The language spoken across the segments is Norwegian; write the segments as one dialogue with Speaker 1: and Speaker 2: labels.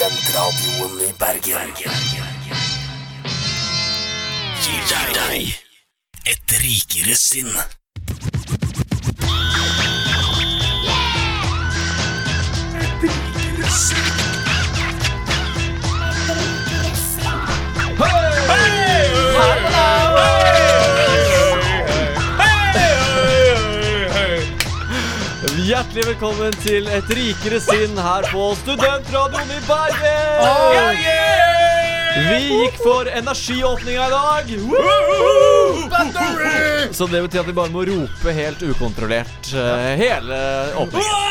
Speaker 1: Radioen i Bergen. Gir deg- deg et rikere sinn.
Speaker 2: Hjertelig velkommen til Et rikere sinn her på Studentradioen i Bergen! Vi gikk for energiåpninga i dag. Så det betyr at vi bare må rope helt ukontrollert eh, hele åpningen.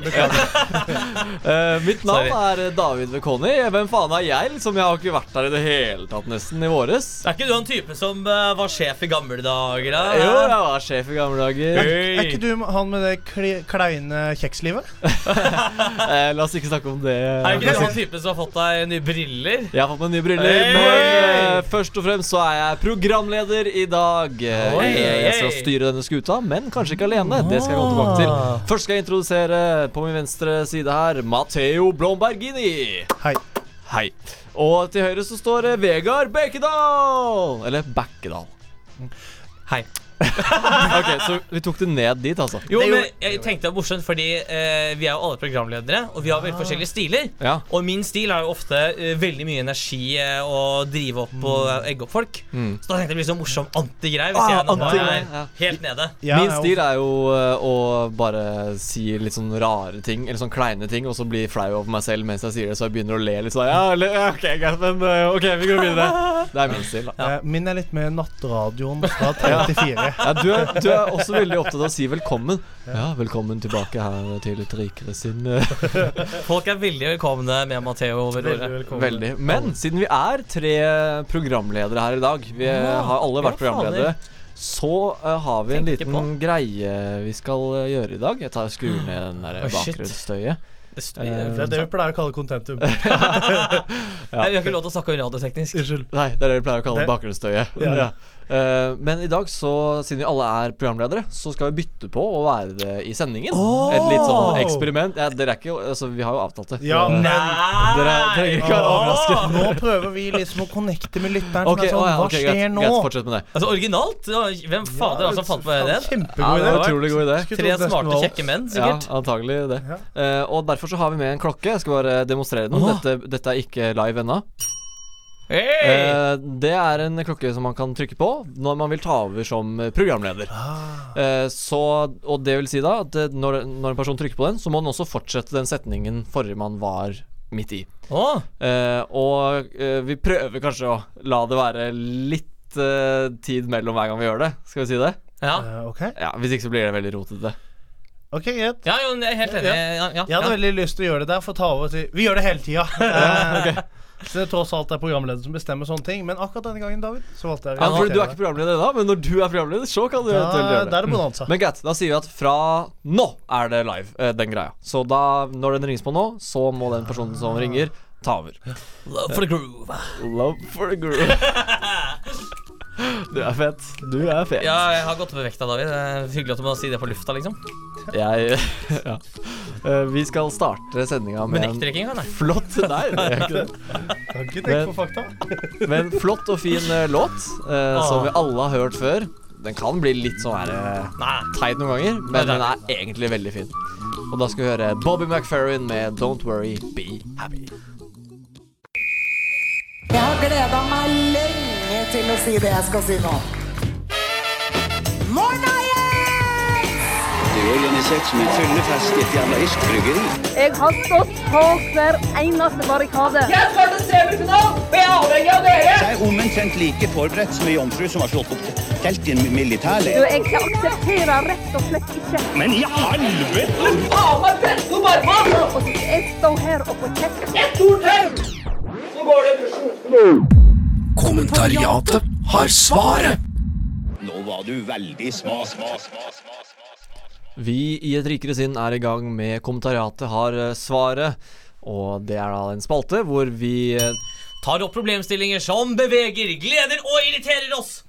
Speaker 2: Eh, mitt navn er David Vekoni. Hvem faen er jeg? Liksom, jeg har ikke vært her i det hele tatt nesten i våres.
Speaker 3: Er ikke du en type som eh, var sjef i gamle dager? Da?
Speaker 2: Jo, jeg var sjef i gamle dager.
Speaker 4: Er ikke du han med det kle kleine kjekslivet?
Speaker 2: Eh, la oss ikke snakke om det.
Speaker 3: Er ikke du han typen som har fått deg nye briller?
Speaker 2: Jeg har fått meg nye briller,
Speaker 3: Hey!
Speaker 2: men eh, først og fremst så er jeg programleder i dag. Eh,
Speaker 3: Oi,
Speaker 2: jeg jeg skal
Speaker 3: hey.
Speaker 2: styre denne skuta, men kanskje ikke alene. Det skal jeg komme tilbake til.
Speaker 3: Ah.
Speaker 2: Først skal jeg introdusere på min venstre side her Matheo Blombergini.
Speaker 4: Hei.
Speaker 2: Hei. Og til høyre så står eh, Vegard Bekkedal. Eller Bekkedal.
Speaker 3: Hei.
Speaker 2: Ok, Så vi tok det ned dit, altså.
Speaker 3: Jo,
Speaker 4: Det er jo-
Speaker 3: men jeg tenkte det var morsomt, fordi eh, vi er jo alle programledere, og vi har
Speaker 4: Ah.
Speaker 3: veldig forskjellige stiler.
Speaker 2: Ja.
Speaker 3: Og min stil er jo ofte eh, veldig mye energi eh, å drive opp og
Speaker 2: Mm.
Speaker 3: egge opp folk. Så da tenkte jeg det blir sånn morsom antigreie hvis
Speaker 2: Ah,
Speaker 3: jeg nå er
Speaker 2: anti-greie, ja.
Speaker 3: helt nede.
Speaker 4: Jeg
Speaker 2: Min
Speaker 4: er jo-
Speaker 2: stil er jo eh, å bare si litt sånn rare ting, eller sånn kleine ting, og så bli flau over meg selv mens jeg sier det, så jeg begynner å le litt sånn. Ja, le, ja, ok, greit, men eh, ok, vi går videre. Det er min stil, da.
Speaker 4: Eh, Min er litt med nattradioen fra 3 til 4.
Speaker 2: Ja, du, er, du er også veldig opptatt av å si velkommen. Ja, velkommen tilbake her til et rikere sinn. eh,
Speaker 3: Folk er veldig velkomne med Matheo over ordet.
Speaker 2: Veldig. Men siden vi er tre programledere her i dag, vi eh,
Speaker 3: Ja,
Speaker 2: har alle vært
Speaker 3: ja, fader.
Speaker 2: programledere, så eh, har vi en
Speaker 3: Tenkte ikke
Speaker 2: liten greie vi skal eh, gjøre i dag. Jeg tar skrur ned den der
Speaker 3: Oi, shit.
Speaker 2: bakgrunnsstøyet.
Speaker 3: Det styr-
Speaker 2: Eh,
Speaker 4: Det er det vi pleier å kalle contentum.
Speaker 3: Nei, Vi har ikke lov til å snakke om radioteknisk.
Speaker 4: Unnskyld.
Speaker 2: Nei, det er det vi pleier å kalle
Speaker 4: Det-
Speaker 2: bakgrunnsstøyet. Ja.
Speaker 4: Ja.
Speaker 2: Eh, men i dag, så, siden vi alle er programledere, så skal vi bytte på å være det i sendingen. Et litt sånn eksperiment. Ja, dere er ikke Altså, vi har jo avtalt det.
Speaker 4: Ja,
Speaker 2: Eh,
Speaker 4: men
Speaker 2: Dere trenger ikke å overraske.
Speaker 4: Ah! nå prøver vi liksom å connecte med lytteren.
Speaker 2: Ok, å
Speaker 4: som er sånn,
Speaker 2: ja,
Speaker 4: Hva
Speaker 2: ok,
Speaker 4: skjer
Speaker 2: greit,
Speaker 4: nå?
Speaker 2: greit, fortsett med det.
Speaker 3: Altså originalt? Det var- Hvem fader altså, fant på den?
Speaker 2: Ja, det
Speaker 4: Kjempegod
Speaker 2: var
Speaker 4: idé.
Speaker 2: utrolig god idé.
Speaker 4: Skulle
Speaker 3: Tre
Speaker 4: trodd nesten
Speaker 3: smarte,
Speaker 4: var-
Speaker 3: kjekke menn, sikkert.
Speaker 2: Ja, antagelig det.
Speaker 4: Ja.
Speaker 2: Eh, og derfor så har vi med en klokke. Jeg skal bare demonstrere den.
Speaker 3: Åh.
Speaker 2: Dette, dette er ikke live ennå.
Speaker 3: Hey!
Speaker 2: Eh, det er en klokke som man kan trykke på når man vil ta over som programleder.
Speaker 4: Ah,
Speaker 2: Eh, så, og det vil si da at eh, når, når en person trykker på den, så må den også fortsette den setningen forrige man var midt i.
Speaker 3: Åh,
Speaker 2: Eh, og eh, vi prøver kanskje å la det være litt eh, tid mellom hver gang vi gjør det. Skal vi si det?
Speaker 3: ja.
Speaker 4: Eh, Ok,
Speaker 2: Ja, Hvis ikke så blir det veldig rotete.
Speaker 4: Ok, greit.
Speaker 3: ja, jo, jeg er helt enig. Ja, ja,
Speaker 4: Jeg hadde
Speaker 3: ja.
Speaker 4: veldig lyst til å gjøre det der, for å ta over til Vi gjør det hele tida. Eh, Så det er tross alt det er programleder som bestemmer sånne ting. Men akkurat denne gangen, David, så valgte jeg å
Speaker 2: Ja, fordi Du
Speaker 4: respektere
Speaker 2: er ikke programleder ennå, men når du er programleder, så kan du
Speaker 4: det.
Speaker 2: eventuelt
Speaker 4: Da-
Speaker 2: gjøre
Speaker 4: Da
Speaker 2: det.
Speaker 4: er det bonanza.
Speaker 2: Men greit, da sier vi at fra nå er det live, eh, den greia. Så da, når den ringes på nå, så må den personen som ringer, ta over.
Speaker 3: Love for the groove.
Speaker 2: Love for the groove. Du er fet. Du er fet.
Speaker 3: Ja, jeg har gått opp i vekta, David. Det er Hyggelig at du må si det på lufta, liksom.
Speaker 2: Jeg ja. Eh, Vi skal starte sendinga
Speaker 3: Men
Speaker 2: med en
Speaker 3: nektdrikking, nei.
Speaker 2: flott Nei, det gjør ikke det.
Speaker 4: Kan ikke
Speaker 2: Men-
Speaker 4: tenke på fakta.
Speaker 2: Med en flott og fin eh, låt eh,
Speaker 3: Ah.
Speaker 2: som vi alle har hørt før. Den kan bli litt sånn her eh,
Speaker 3: Nei.
Speaker 2: teit noen ganger, men den er egentlig veldig fin. Og da skal vi høre Bobby McFerrin med 'Don't Worry, Be Happy'.
Speaker 5: Jeg har gleda meg lenge til å si det jeg skal si nå. Morna igjen!
Speaker 6: Det er organisert som en fyllefest i et jamaisk bryggeri.
Speaker 7: Jeg har stått på hver eneste barrikade.
Speaker 6: Jeg er omtrent like forberedt som ei jomfru som har slått opp telt i en
Speaker 7: Du,
Speaker 6: militærleir.
Speaker 7: jeg aksepterer rett og slett ikke
Speaker 6: Men i helvete!
Speaker 7: at jeg står her og får kjeft.
Speaker 1: Kommentariatet har svaret.
Speaker 6: Nå var du veldig smas, smas, smas, smas, smas.
Speaker 2: Vi i Et rikere sinn er i gang med Kommentariatet har eh, svaret. Og det er da en spalte hvor vi eh,
Speaker 3: Tar opp problemstillinger som beveger, gleder og irriterer oss.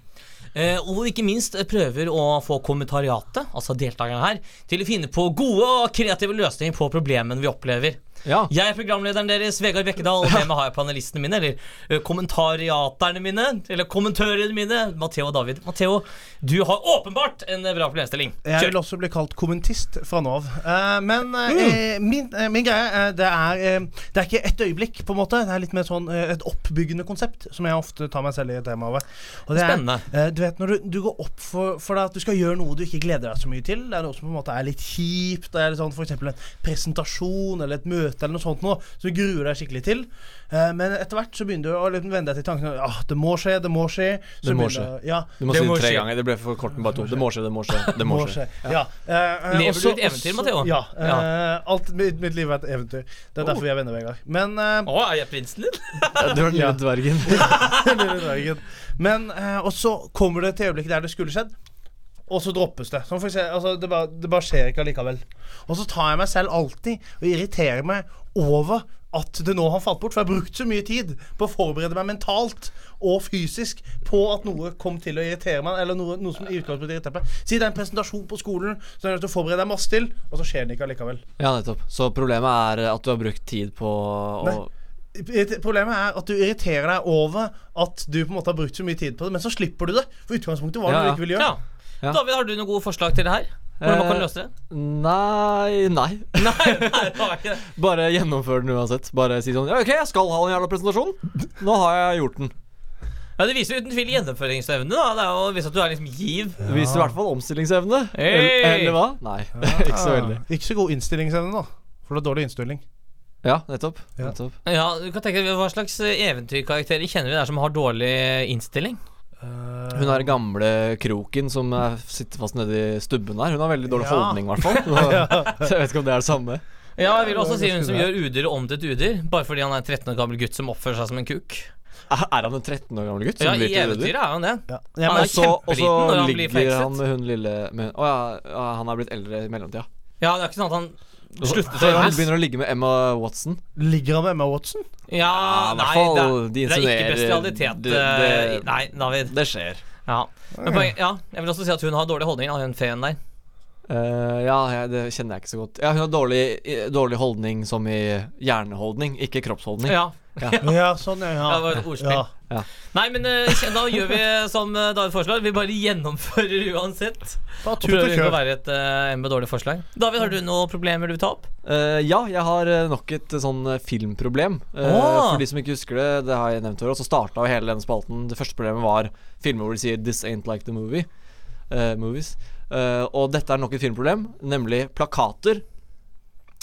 Speaker 3: Eh, og ikke minst prøver å få kommentariatet, altså deltakerne her, til å finne på gode og kreative løsninger på problemene vi opplever.
Speaker 2: Ja.
Speaker 3: Jeg er programlederen deres, Vegard Bekkedal, og med meg har jeg panelistene mine, eller ø, kommentariaterne mine, eller kommentørene mine, Matheo og David. Matheo, du har åpenbart en bra problemstilling.
Speaker 4: Jeg vil
Speaker 3: Kjør.
Speaker 4: også bli kalt kommentist fra nå av. Eh, men eh, eh, min, eh, min greie, eh, det er eh, Det er ikke et øyeblikk, på en måte. Det er litt mer sånn eh, et oppbyggende konsept, som jeg ofte tar meg selv i temaet over. Og det er,
Speaker 3: Spennende.
Speaker 4: eh, du vet når du, du går opp for, for deg at du skal gjøre noe du ikke gleder deg så mye til. Det er noe som på en måte er litt kjipt. Det er litt sånn f.eks. en presentasjon eller et møte eller noe sånt noe som du gruer deg skikkelig til. Eh, men etter hvert så begynner du å liksom vende deg til tanken at ah, det må skje, det må skje. Så
Speaker 2: Det må
Speaker 4: begynner du- Ja,
Speaker 2: Du må
Speaker 3: Det
Speaker 2: si
Speaker 3: må
Speaker 2: det tre
Speaker 3: skje.
Speaker 2: ganger. Det ble for kort med bare to. Det må skje, det må skje. Det må skje.
Speaker 4: Ja. Eh, eh,
Speaker 3: Lever du
Speaker 4: også-
Speaker 3: et eventyr,
Speaker 4: også-
Speaker 3: Matteo?
Speaker 4: Ja. eh, alt mitt, mitt liv er et eventyr. Det er derfor vi er venner, Vegard. Men eh,
Speaker 3: Oh. Å, er jeg prinsen din?
Speaker 2: Du er den lille
Speaker 4: Ja.
Speaker 2: dvergen.
Speaker 4: lille dvergen. Men eh, Og så kommer det til øyeblikket der det skulle skjedd, og så droppes det. Som for eksempel, altså, det, bare, det bare skjer ikke allikevel. Og så tar jeg meg selv alltid og irriterer meg over at det nå har falt bort. For jeg har brukt så mye tid på å forberede meg mentalt og fysisk på at noe kom til å irritere meg, eller noe, noe som i utgangspunktet irriterer meg. Si det er en presentasjon på skolen som jeg er nødt til å forberede deg masse til, og så skjer den ikke allikevel.
Speaker 2: Ja, nettopp. Så problemet er at du har brukt tid på å
Speaker 4: Nei. Irrit- Problemet er at du irriterer deg over at du på en måte har brukt så mye tid på det, men så slipper du det. For utgangspunktet var det
Speaker 2: Ja, ja.
Speaker 4: du ikke ville
Speaker 3: Ja.
Speaker 4: gjøre.
Speaker 2: Ja.
Speaker 3: David, har du noen gode forslag til det her? Hvordan man kan
Speaker 2: Eh,
Speaker 3: løse det?
Speaker 2: Nei, nei.
Speaker 3: Nei, nei, det har jeg ikke det.
Speaker 2: Bare gjennomfør den uansett. Bare si sånn Ja, OK, jeg skal ha den jævla presentasjonen. Nå har jeg gjort den.
Speaker 3: Ja, Det viser jo uten tvil gjennomføringsevne. da Det er jo å vise at du er liksom giv.
Speaker 2: Det viser i hvert fall omstillingsevne.
Speaker 3: Hey!
Speaker 2: Eller, eller hva? Nei, ikke så veldig.
Speaker 4: Ah, ikke så god innstillingsevne, da. For det er dårlig innstilling.
Speaker 2: Ja, nettopp.
Speaker 4: Ja.
Speaker 2: nettopp.
Speaker 3: Ja, du kan tenke deg Hva slags eh, eventyrkarakterer kjenner vi der som har dårlig innstilling?
Speaker 2: Hun er gamle kroken som er- sitter fast nedi stubben her. Hun har veldig dårlig
Speaker 4: Ja.
Speaker 2: holdning, i hvert fall. Så jeg vet ikke om det er det samme.
Speaker 3: Ja, jeg vil også si hun som gjør udyr om til et udyr, bare fordi han er en 13 år gammel gutt som oppfører seg som en kuk.
Speaker 2: Er er han en 13 år gammel gutt? som
Speaker 3: Ja,
Speaker 2: blir
Speaker 3: I
Speaker 2: til udyr?
Speaker 3: eventyret er han det.
Speaker 4: Ja.
Speaker 3: Han er
Speaker 2: Og så og så
Speaker 3: kjempeliten når han blir
Speaker 2: ligger han
Speaker 3: fengslet.
Speaker 2: med hun lille med, Å ja, ja, han er blitt eldre i mellomtida.
Speaker 3: Ja, det er ikke sånn at han slutter
Speaker 2: Så
Speaker 3: å
Speaker 2: han
Speaker 3: gjøre det.
Speaker 2: begynner å ligge med Emma Watson.
Speaker 4: Ligger han med Emma Watson?
Speaker 3: Ja,
Speaker 2: i
Speaker 3: nei,
Speaker 2: hvert fall,
Speaker 3: det, er-
Speaker 2: de
Speaker 3: det er ikke
Speaker 2: insinuerer-
Speaker 3: bestialitet.
Speaker 2: det-
Speaker 3: eh,
Speaker 2: det-
Speaker 3: Nei, David.
Speaker 2: Det skjer.
Speaker 3: Ja. Men poenget, ja, jeg vil også si at hun har dårlig holdning, da, hun feen der.
Speaker 2: Eh, ja, jeg, det kjenner jeg ikke så godt. Ja, Hun har dårlig, i- dårlig holdning som i hjerneholdning, ikke kroppsholdning.
Speaker 3: Ja.
Speaker 4: Ja, sånn, ja.
Speaker 3: Ja, det var et ordspill.
Speaker 4: Ja.
Speaker 3: Nei, men eh, da gjør vi som eh, David foreslår. Vi bare gjennomfører uansett.
Speaker 4: Bare
Speaker 3: Og
Speaker 4: tut og
Speaker 3: prøver ikke å
Speaker 4: kjør.
Speaker 3: være et eh, en med dårlig forslag. David, har du noen problemer du vil ta opp?
Speaker 2: Eh, ja, jeg har eh, nok et eh, sånn eh, filmproblem. Eh,
Speaker 3: Åh!
Speaker 2: For de som ikke husker det, det har jeg nevnt før, og så starta jo hele denne spalten. Det første problemet var filmer hvor de sier 'This ain't like the movie'. eh, movies. Eh, og dette er nok et filmproblem, nemlig plakater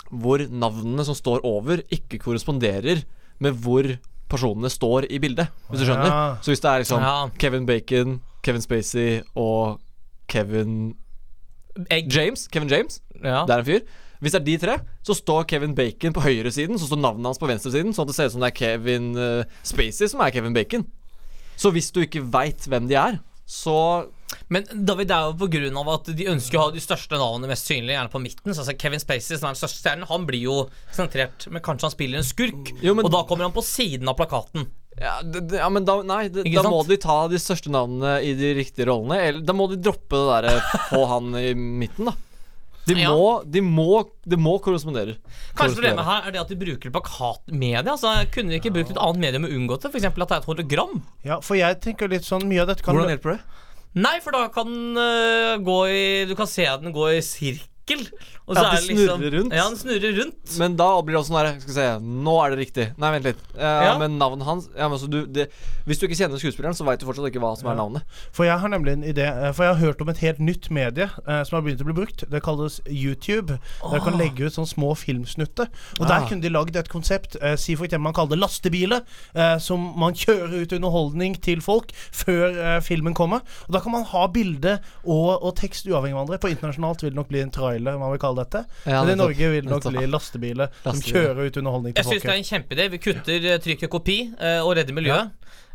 Speaker 2: hvor navnene som står over, ikke korresponderer med hvor personene står i bildet. Hvis du skjønner?
Speaker 4: Ja.
Speaker 2: Så hvis det er liksom
Speaker 3: Ja.
Speaker 2: Kevin Bacon, Kevin Spacey og Kevin
Speaker 3: Egg.
Speaker 2: James, Kevin James
Speaker 3: Ja.
Speaker 2: det er en fyr. Hvis det er de tre, så står Kevin Bacon på høyresiden, så står navnet hans på venstresiden, sånn at det ser ut som det er Kevin eh, Spacey som er Kevin Bacon. Så hvis du ikke veit hvem de er, så
Speaker 3: Men David, det er jo på grunn av at de ønsker å ha de største navnene mest synlige, gjerne på midten. Så altså Kevin Spacey, som er den største stjernen, han blir jo sentrert. Men kanskje han spiller en skurk,
Speaker 2: Jo, men-
Speaker 3: og da kommer han på siden av plakaten.
Speaker 2: Ja, d- d- ja men da, nei, d-
Speaker 3: Ikke
Speaker 2: da
Speaker 3: sant?
Speaker 2: må de ta de største navnene i de riktige rollene. Eller da må de droppe det derre få han i midten, da. De
Speaker 3: Ja.
Speaker 2: må, de må, de må korrespondere.
Speaker 3: Kanskje problemet her er det at de bruker plakatmedia. Altså, kunne de ikke brukt et annet medium og unngått det? F.eks. at det er et hologram?
Speaker 4: Ja, for jeg tenker litt sånn Mye av dette kan
Speaker 2: Hvordan hjelper det?
Speaker 3: Nei, for da kan den øh, gå i Du kan se at den går i sirkel. Og
Speaker 2: Ja,
Speaker 3: er
Speaker 2: den
Speaker 3: det liksom-
Speaker 2: snurrer rundt.
Speaker 3: Ja, den snurrer rundt.
Speaker 2: Men da blir det også sånn her Skal vi se, nå er det riktig. Nei, vent litt. Eh,
Speaker 3: Ja.
Speaker 2: Men navnet hans ja, men så du, det, Hvis du ikke kjenner skuespilleren, så veit du fortsatt ikke hva som er navnet.
Speaker 4: For jeg har nemlig en idé eh, For jeg har hørt om et helt nytt medie eh, som har begynt å bli brukt. Det kalles YouTube. Der du kan legge ut sånne små filmsnutter. Og der
Speaker 2: Ah.
Speaker 4: kunne de lagd et konsept. Eh, si for eksempel man kaller det lastebiler. Eh, som man kjører ut underholdning til folk før eh, filmen kommer. Og da kan man ha bilde og, og tekst uavhengig av hverandre. For internasjonalt vil det nok bli en trailer, man vil kalle dette.
Speaker 2: Ja, nettopp.
Speaker 4: Men i Norge vil det nok
Speaker 2: Nettopp.
Speaker 4: bli lastebiler, som
Speaker 2: Lastebiler.
Speaker 4: kjører ut underholdning
Speaker 3: Jeg
Speaker 4: til
Speaker 3: syns det er
Speaker 4: folket.
Speaker 3: en kjempeidé. Vi kutter eh, trykket kopi eh, og redder miljøet.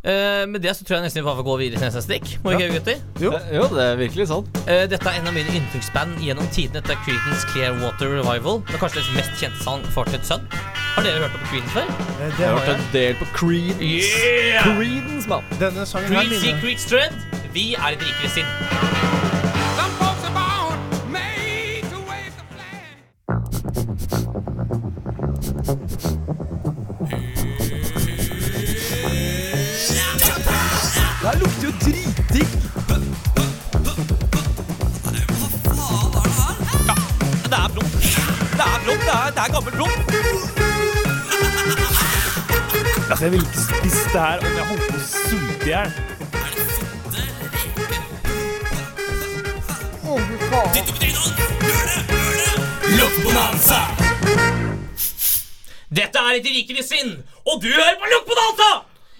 Speaker 3: Eh, med det så tror jeg nesten vi bare får gå videre til neste stikk. Må vi ikke, gutter?
Speaker 4: Jo.
Speaker 2: Eh, Jo, det er virkelig sånn.
Speaker 3: Eh, dette er en av mine yndlingsband gjennom tidene. Dette er Creedence Clearwater Revival. Det er kanskje deres mest kjente sang, Fortet Sun. Har dere hørt om Creedence før?
Speaker 4: Eh,
Speaker 2: Jeg
Speaker 4: Det
Speaker 2: har
Speaker 4: har
Speaker 2: hørt
Speaker 4: jeg.
Speaker 2: en del på Creed.
Speaker 3: Yeah!
Speaker 2: Creedence, mann.
Speaker 4: Denne sangen her
Speaker 3: Creed
Speaker 4: minner
Speaker 3: Secret Strand. Vi er et rikere sinn.
Speaker 8: Altså, jeg ville ikke spist det her om jeg holdt på å sulte i hjel.
Speaker 3: Dette er ikke rikelig sinn, og du hører på Lukk på data!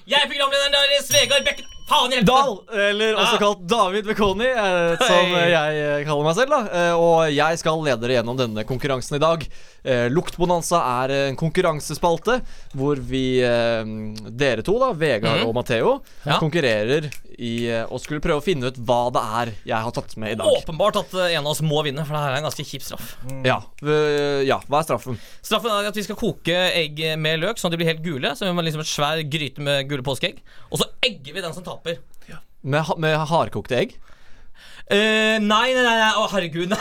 Speaker 3: Jeg er programlederen deres, Vegard Bekken... Faen hjelpe!
Speaker 2: Dahl, eller også
Speaker 3: Ah.
Speaker 2: kalt David Bekoni, eh, som
Speaker 3: Hei.
Speaker 2: jeg eh, kaller meg selv. da Eh, Og jeg skal lede dere gjennom denne konkurransen i dag. Eh, Luktbonanza er en konkurransespalte hvor vi, eh, dere to, da, Vegard og Matheo,
Speaker 3: Mhm. Ja.
Speaker 2: konkurrerer i eh, å skulle prøve å finne ut hva det er jeg har tatt med i dag.
Speaker 3: Åpenbart at eh, en av oss må vinne, for det her er en ganske kjip straff.
Speaker 2: Ja, eh, ja, hva er straffen?
Speaker 3: Straffen er at vi skal koke egg med løk, sånn at de blir helt gule. Så vi må liksom et svær gryte med gule påskeegg. Og så egger vi den som taper.
Speaker 2: Med, ha- med hardkokte egg?
Speaker 3: Eh, nei, nei, nei, nei, å herregud, nei.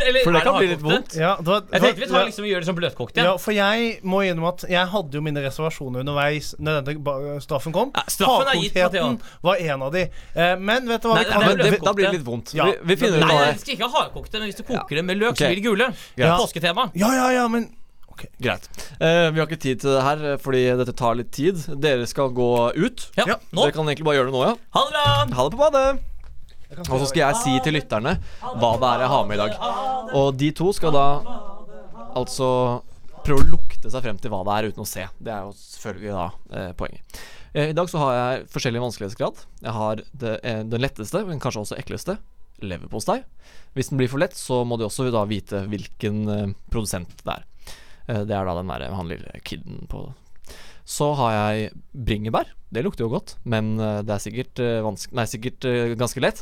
Speaker 3: Eller,
Speaker 2: For det
Speaker 3: er
Speaker 2: kan bli litt
Speaker 3: hardkokte?
Speaker 2: vondt.
Speaker 4: Ja, det var,
Speaker 3: Jeg tenkte vi
Speaker 4: det var-
Speaker 3: tar liksom og gjør det som bløtkokt
Speaker 4: ja,
Speaker 3: igjen.
Speaker 4: for jeg må innrømme at jeg hadde jo mine reservasjoner underveis når denne ba- straffen kom.
Speaker 3: Ja, straffen er gitt,
Speaker 4: Hardkoktheten var en av de. Eh, men vet du hva
Speaker 3: Nei,
Speaker 4: vi
Speaker 3: nei,
Speaker 4: kan
Speaker 3: nei,
Speaker 2: Men
Speaker 3: det
Speaker 2: det,
Speaker 3: løpkokte.
Speaker 2: da blir det litt vondt.
Speaker 4: Ja.
Speaker 2: Vi, vi finner ut
Speaker 3: Nei,
Speaker 2: hva
Speaker 3: nei,
Speaker 2: det
Speaker 3: vi
Speaker 2: er.
Speaker 3: skal ikke ha hardkokte, men hvis du koker det med løk, så
Speaker 2: Ok.
Speaker 3: blir det gule.
Speaker 4: Ja.
Speaker 3: Påsketema.
Speaker 4: Ja, ja, ja, men
Speaker 2: Greit. Eh, vi har ikke tid til det her, eh, fordi dette tar litt tid. Dere skal gå ut.
Speaker 3: Ja,
Speaker 4: Ja.
Speaker 3: nå.
Speaker 2: Dere kan egentlig bare gjøre det nå, ja.
Speaker 3: Ha det bra!
Speaker 2: Ha det på badet! Og så skal jeg si til lytterne hva det er jeg har med i dag. Og de to skal da altså prøve å lukte seg frem til hva det er uten å se. Det er jo selvfølgelig da eh, poenget. Eh, I dag så har jeg forskjellig vanskelighetsgrad. Jeg har det, eh, den letteste, men kanskje også ekleste, leverpostei. Hvis den blir for lett, så må de også da vite hvilken eh, produsent det er. Eh, det er da den der, han lille kiden på så har jeg bringebær. Det lukter jo godt, men eh, det er sikkert, eh, vanske- nei, sikkert eh, ganske lett.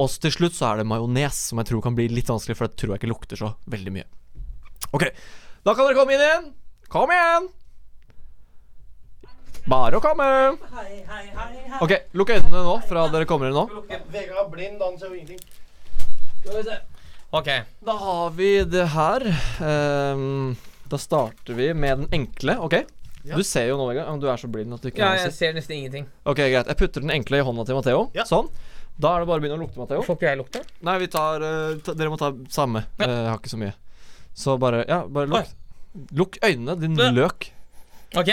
Speaker 2: Og til slutt så er det majones, som jeg tror kan bli litt vanskelig, for det tror jeg ikke lukter så veldig mye. Ok, da kan dere komme inn igjen. Kom igjen! Bare å komme. Ok, lukk øynene nå fra dere kommer inn nå.
Speaker 4: Vegard er blind, han ser jo ingenting.
Speaker 3: Ok.
Speaker 2: Da har vi det her. Ehm, da starter vi med den enkle, OK? Du ser jo nå, Vegard. Du er så blind at du ikke
Speaker 3: Ja,
Speaker 2: ser.
Speaker 3: jeg ser nesten ingenting.
Speaker 2: Ok, greit. Jeg putter den enkle i hånda til Matheo.
Speaker 4: Ja.
Speaker 2: Sånn. Da er det bare å begynne å lukte, Matheo.
Speaker 3: Får ikke jeg lukte?
Speaker 2: Nei, vi tar eh, ta, Dere må ta samme. Eh, jeg har ikke så mye. Så bare Ja, bare lukt. Lukk øynene, din
Speaker 3: Ja.
Speaker 2: løk.
Speaker 3: Ok,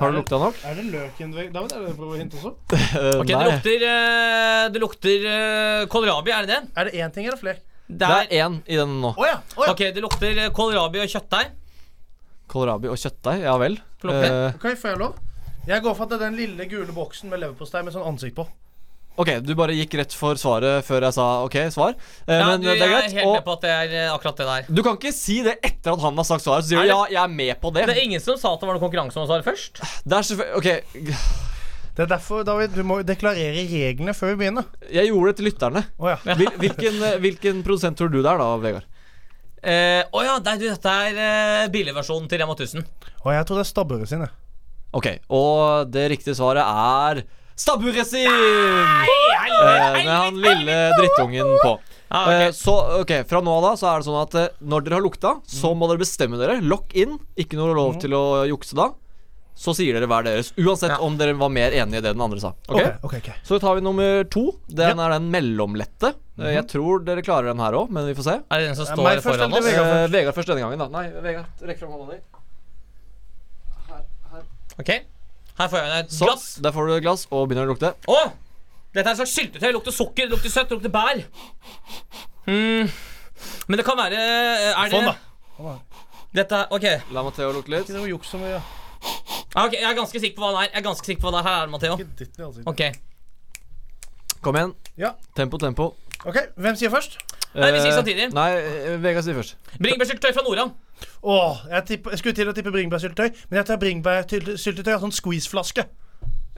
Speaker 2: Har du lukta nok?
Speaker 4: Er det løken Vegard? David, er det det du prøver å hinte også?
Speaker 2: Eh,
Speaker 3: ok, det lukter, eh, det lukter eh, kålrabi, er det det?
Speaker 4: Er det én ting eller flere?
Speaker 3: Det
Speaker 2: Det
Speaker 3: er,
Speaker 2: er én i den nå.
Speaker 4: Å ja. å ja.
Speaker 3: ok, det lukter eh, kålrabi og kjøttdeig.
Speaker 2: Kålrabi og kjøttdeig. Ja vel.
Speaker 3: Klokke.
Speaker 2: Eh,
Speaker 4: Ok, får jeg lov? Jeg går for at det er den lille gule boksen med leverpostei med sånn ansikt på.
Speaker 2: ok, du bare gikk rett for svaret før jeg sa OK, svar. Eh,
Speaker 3: Ja,
Speaker 2: men
Speaker 3: du,
Speaker 2: eh, det er
Speaker 3: jeg er
Speaker 2: greit.
Speaker 3: helt med
Speaker 2: Og
Speaker 3: på at det er eh, akkurat det der.
Speaker 2: du kan ikke si det etter at han har sagt svaret. Så sier
Speaker 3: Er
Speaker 2: du
Speaker 3: det-
Speaker 2: ja, jeg er med på det.
Speaker 3: Det er ingen som sa at det var noen konkurranse om å svare først.
Speaker 2: Det er selvfølgelig Ok,
Speaker 4: Det er derfor, David, du må deklarere reglene før vi begynner.
Speaker 2: jeg gjorde det til lytterne.
Speaker 4: Å ja.
Speaker 2: Hvil, hvilken, eh, hvilken produsent tror du det er da, Vegard?
Speaker 3: Eh, Å ja, nei, du, dette er eh, billigversjonen til Rema 1000.
Speaker 4: Og jeg tror det er stabburet sine.
Speaker 2: Ok, og det riktige svaret er Stabburet sin! Eh, Med han lille drittungen på.
Speaker 3: Ah, ok.
Speaker 2: Eh, Så ok, fra nå av da så er det sånn at eh, når dere har lukta, så må dere bestemme dere. Lokk inn. Ikke noe lov til å jukse da. Så sier dere hver deres. Uansett om dere var mer enig i det den andre sa. Ok?
Speaker 4: ok, ok.
Speaker 2: Så tar vi nummer to. Den er den mellomlette. Eh, Jeg tror dere klarer den her òg, men vi får se.
Speaker 3: Er det den som
Speaker 4: Ja,
Speaker 3: står
Speaker 4: meg først,
Speaker 3: foran
Speaker 4: eller
Speaker 3: oss?
Speaker 4: Vegard
Speaker 2: Eh,
Speaker 4: først.
Speaker 2: Vegard først denne gangen, da. Nei, Vegard, rekk fram hånda di.
Speaker 3: Ok, Her får jeg et
Speaker 2: Sånn.
Speaker 3: glass.
Speaker 2: Der får du et glass og begynner å lukte.
Speaker 3: Å! Dette er en slags syltetøy. Det Lukter sukker, det lukter søtt, det lukter bær. Mm. Men det kan være eh, Er det
Speaker 4: Sånn, da.
Speaker 3: Dette er- OK. Ja,
Speaker 2: La Matheo lukte litt.
Speaker 4: Ikke noe juks som vi gjør.
Speaker 3: ok, Jeg er ganske sikker på hva den er. Jeg er ganske sikker på hva den er. Her er det, Matheo.
Speaker 4: Ikke dytt den i ansiktet.
Speaker 3: Ok.
Speaker 2: Kom igjen.
Speaker 4: Ja.
Speaker 2: Tempo, tempo.
Speaker 4: Ok, hvem sier først?
Speaker 3: Nei, vi sier
Speaker 2: Eh,
Speaker 3: samtidig.
Speaker 2: Nei, eh, Vegard sier først.
Speaker 3: Bringebærsyltetøy fra Nordland.
Speaker 4: Åh, jeg, tipper- jeg skulle til å tippe bringebærsyltetøy, men jeg tar bringebærsyltetøy av sånn squeezeflaske.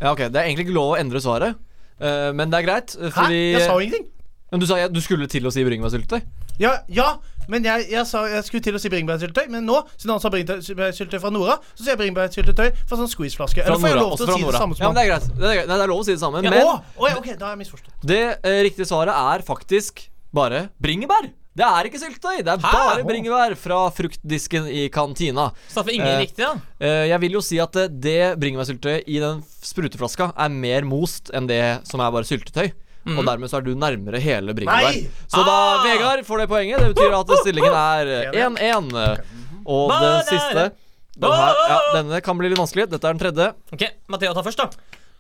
Speaker 2: Ja, ok, Det er egentlig ikke lov å endre svaret, eh, men det er greit. eh,
Speaker 4: Hæ?
Speaker 2: Fordi
Speaker 4: Jeg sa jo ingenting.
Speaker 2: Men du sa ja, du skulle til å si bringebærsyltetøy?
Speaker 4: Ja, ja men jeg, jeg, sa, jeg skulle til å si bringebærsyltetøy, men nå, siden han sa bringebærsyltetøy fra Nora, så sier jeg bringebærsyltetøy fra sånn squeezeflaske.
Speaker 2: Fra
Speaker 4: Eller får jeg
Speaker 2: Nora,
Speaker 4: lov
Speaker 2: også
Speaker 4: til å
Speaker 2: fra
Speaker 4: si
Speaker 2: Nora.
Speaker 4: det samme
Speaker 2: Ja, men
Speaker 4: som
Speaker 2: det er greit. Det er, greit. Nei, det er lov å si det samme,
Speaker 4: Ja,
Speaker 2: men
Speaker 4: Åh, åh, ja, ok, da har jeg misforstått.
Speaker 2: det eh, riktige svaret er faktisk bare bringebær. Det er ikke syltetøy, det er
Speaker 3: Hæ?
Speaker 2: bare bringebær fra fruktdisken i kantina.
Speaker 3: Så derfor ingen
Speaker 2: Eh,
Speaker 3: riktig, da.
Speaker 2: Eh, jeg vil jo si at eh, det bringebærsyltetøyet i den spruteflaska er mer most enn det som er bare syltetøy. Og dermed så er du nærmere hele bringebær.
Speaker 4: Nei!
Speaker 2: Så da,
Speaker 3: Mm. Ah!
Speaker 2: Vegard, får det poenget. Det betyr at stillingen er eh, 1-1. Og
Speaker 3: Banar!
Speaker 2: den siste den her, ja, Denne kan bli litt vanskelig. Dette er den tredje.
Speaker 3: Ok, Matheo tar først, da.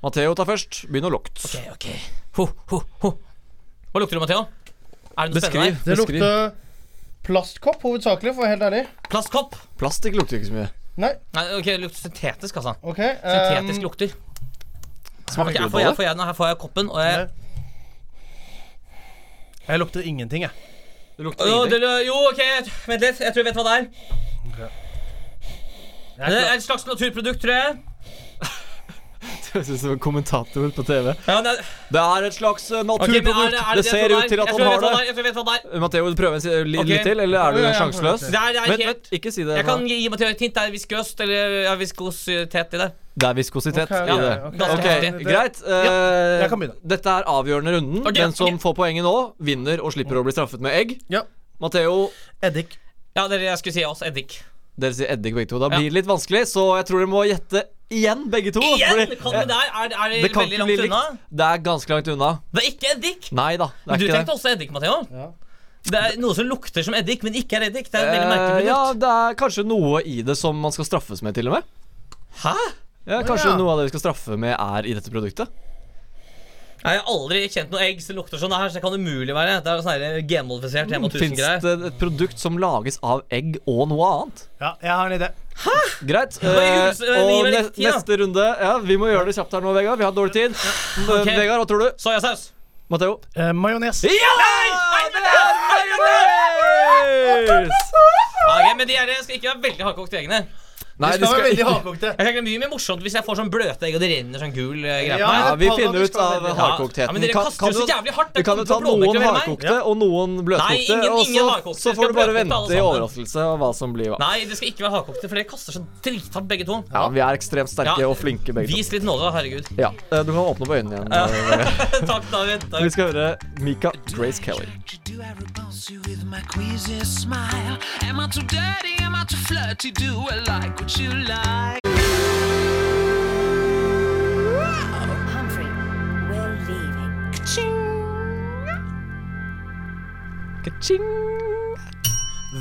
Speaker 2: Matheo tar først. Begynn å lukte.
Speaker 3: Ok, ok ho, ho, ho. Hva lukter du, Matheo? Er det noe
Speaker 2: Beskriv.
Speaker 3: spennende
Speaker 4: Det
Speaker 2: beskriv.
Speaker 4: lukter plastkopp hovedsakelig, for å være helt ærlig.
Speaker 3: her? Plastkopp?
Speaker 2: Plastikk lukter ikke så mye.
Speaker 4: Nei,
Speaker 3: Nei, ok, det lukter syntetisk, altså.
Speaker 4: OK.
Speaker 2: Um,
Speaker 3: Syntetisk
Speaker 4: ehm,
Speaker 3: lukter. Ok,
Speaker 2: Smaker
Speaker 3: her,
Speaker 2: du
Speaker 3: får jeg,
Speaker 2: på det?
Speaker 3: får jeg, den, her får jeg koppen, og jeg
Speaker 4: Jeg lukter ingenting, jeg.
Speaker 2: Det lukter
Speaker 3: jo,
Speaker 2: ingenting.
Speaker 3: det, jo, ok, vent litt. Jeg tror jeg vet hva det er. Det er et slags naturprodukt, tror jeg.
Speaker 2: Jeg synes det var en kommentator på TV.
Speaker 3: Ja, det er,
Speaker 2: Det er et slags eh,
Speaker 3: ok, men er det-
Speaker 2: naturprodukt.
Speaker 3: er
Speaker 2: Det
Speaker 3: jeg
Speaker 2: ser
Speaker 3: tror
Speaker 2: ut til
Speaker 3: er?
Speaker 2: at han
Speaker 3: Jeg tror jeg
Speaker 2: har
Speaker 3: vet
Speaker 2: det.
Speaker 3: hva er, Jeg tror jeg vet hva det er.
Speaker 2: Matheo, vil du prøve en si li
Speaker 3: Ok.
Speaker 2: litt til, eller er
Speaker 4: Ja,
Speaker 2: du
Speaker 4: ja, ja,
Speaker 2: sjanseløs?
Speaker 4: prøv
Speaker 3: Det er, det er
Speaker 2: Vent,
Speaker 3: helt
Speaker 2: vent, ikke si det.
Speaker 3: Jeg
Speaker 2: nå.
Speaker 3: kan gi Matheo et hint. Det er viskøst eller ja, viskositet i det.
Speaker 2: Det er viskositet
Speaker 4: Ok,
Speaker 2: i det.
Speaker 4: ok,
Speaker 2: Ok,
Speaker 3: ok.
Speaker 4: Det-
Speaker 2: Greit. eh,
Speaker 4: jeg kan begynne.
Speaker 2: Dette er avgjørende runden.
Speaker 3: Ok,
Speaker 2: Den som
Speaker 3: ok.
Speaker 2: får poenget nå, vinner og slipper å bli straffet med egg.
Speaker 4: Ja.
Speaker 2: Matheo,
Speaker 4: Eddik.
Speaker 3: Ja, dere, jeg skulle si også eddik.
Speaker 2: dere sier eddik begge to. Da
Speaker 3: Ja.
Speaker 2: blir det litt vanskelig, så jeg tror dere må gjette igjen, begge to.
Speaker 3: Igjen!
Speaker 2: fordi-
Speaker 3: Kan det der? Er, er det,
Speaker 2: det kan
Speaker 3: veldig
Speaker 2: ikke bli
Speaker 3: langt unna?
Speaker 2: likt. Det er ganske langt unna.
Speaker 3: Det er ikke eddik.
Speaker 2: Nei da, det er
Speaker 3: Du
Speaker 2: ikke det.
Speaker 3: tenkte også eddik, Matheo. Det er noe som lukter som eddik, men ikke er eddik. Det er et veldig merkelig
Speaker 2: Eh,
Speaker 3: produkt.
Speaker 2: ja, det er kanskje noe i det som man skal straffes med, til og med.
Speaker 3: Hæ?
Speaker 2: Ja, kanskje
Speaker 4: ja.
Speaker 2: noe av det vi skal straffe med, er i dette produktet.
Speaker 3: Jeg har aldri kjent noe egg som lukter sånn her, så det kan umulig være. Det er sånn her genmodifisert Rema
Speaker 2: Fins det
Speaker 3: 1000-greier.
Speaker 2: et produkt som lages av egg og noe annet?
Speaker 4: Ja, jeg har en idé.
Speaker 2: Greit.
Speaker 3: Ja,
Speaker 2: eh,
Speaker 3: men Jules, vi
Speaker 2: og
Speaker 3: gir vel
Speaker 2: ne
Speaker 3: litt tid, da.
Speaker 2: neste runde Ja, Vi må gjøre det kjapt her nå, Vegard. Vi har dårlig tid.
Speaker 3: mm,
Speaker 2: Eh, Vegard, hva tror du?
Speaker 3: Soyasaus.
Speaker 2: Matheo?
Speaker 4: Eh, Majones.
Speaker 2: Ja! Det er majones!
Speaker 3: Ja, ok, men de her skal ikke være veldig hardkokte eggene.
Speaker 2: Nei,
Speaker 4: Det
Speaker 2: de
Speaker 4: var
Speaker 2: skal
Speaker 4: veldig
Speaker 2: ikke
Speaker 4: hardkokte.
Speaker 3: Jeg tenker det er mye mer morsomt hvis jeg får sånn bløte egg og det renner sånn gul eh, greie på
Speaker 4: Ja,
Speaker 3: meg.
Speaker 2: ja, Vi finner
Speaker 4: Paradis
Speaker 2: ut av
Speaker 4: skal være-
Speaker 2: hardkoktheten.
Speaker 3: Ja, men dere
Speaker 2: Kan-
Speaker 3: kaster
Speaker 2: kan
Speaker 3: jo så
Speaker 2: du-
Speaker 3: jævlig hardt.
Speaker 2: Vi kan
Speaker 3: Det
Speaker 2: jo
Speaker 3: kommer
Speaker 2: ta
Speaker 3: til å blåmerke
Speaker 2: noen
Speaker 3: over meg.
Speaker 2: hardkokte og noen bløtkokte.
Speaker 3: ingen-
Speaker 2: Og
Speaker 3: ingen
Speaker 2: så,
Speaker 3: hardkokte.
Speaker 2: så
Speaker 3: Vi
Speaker 2: får du bare
Speaker 3: skal bløte opp
Speaker 2: vente i
Speaker 3: alle sammen.
Speaker 2: overraskelse av hva som blir hva.
Speaker 3: Nei, det skal ikke være hardkokte, for dere kaster så drithardt begge to.
Speaker 2: Ja, vi er ekstremt sterke
Speaker 3: Ja.
Speaker 2: og flinke begge to.
Speaker 3: Vis litt nåde, da, herregud.
Speaker 2: Ja, eh, Du kan åpne på øynene igjen. eh,
Speaker 3: Takk, David.
Speaker 2: Vi
Speaker 3: Takk.
Speaker 2: skal høre Mika Grace Kelly.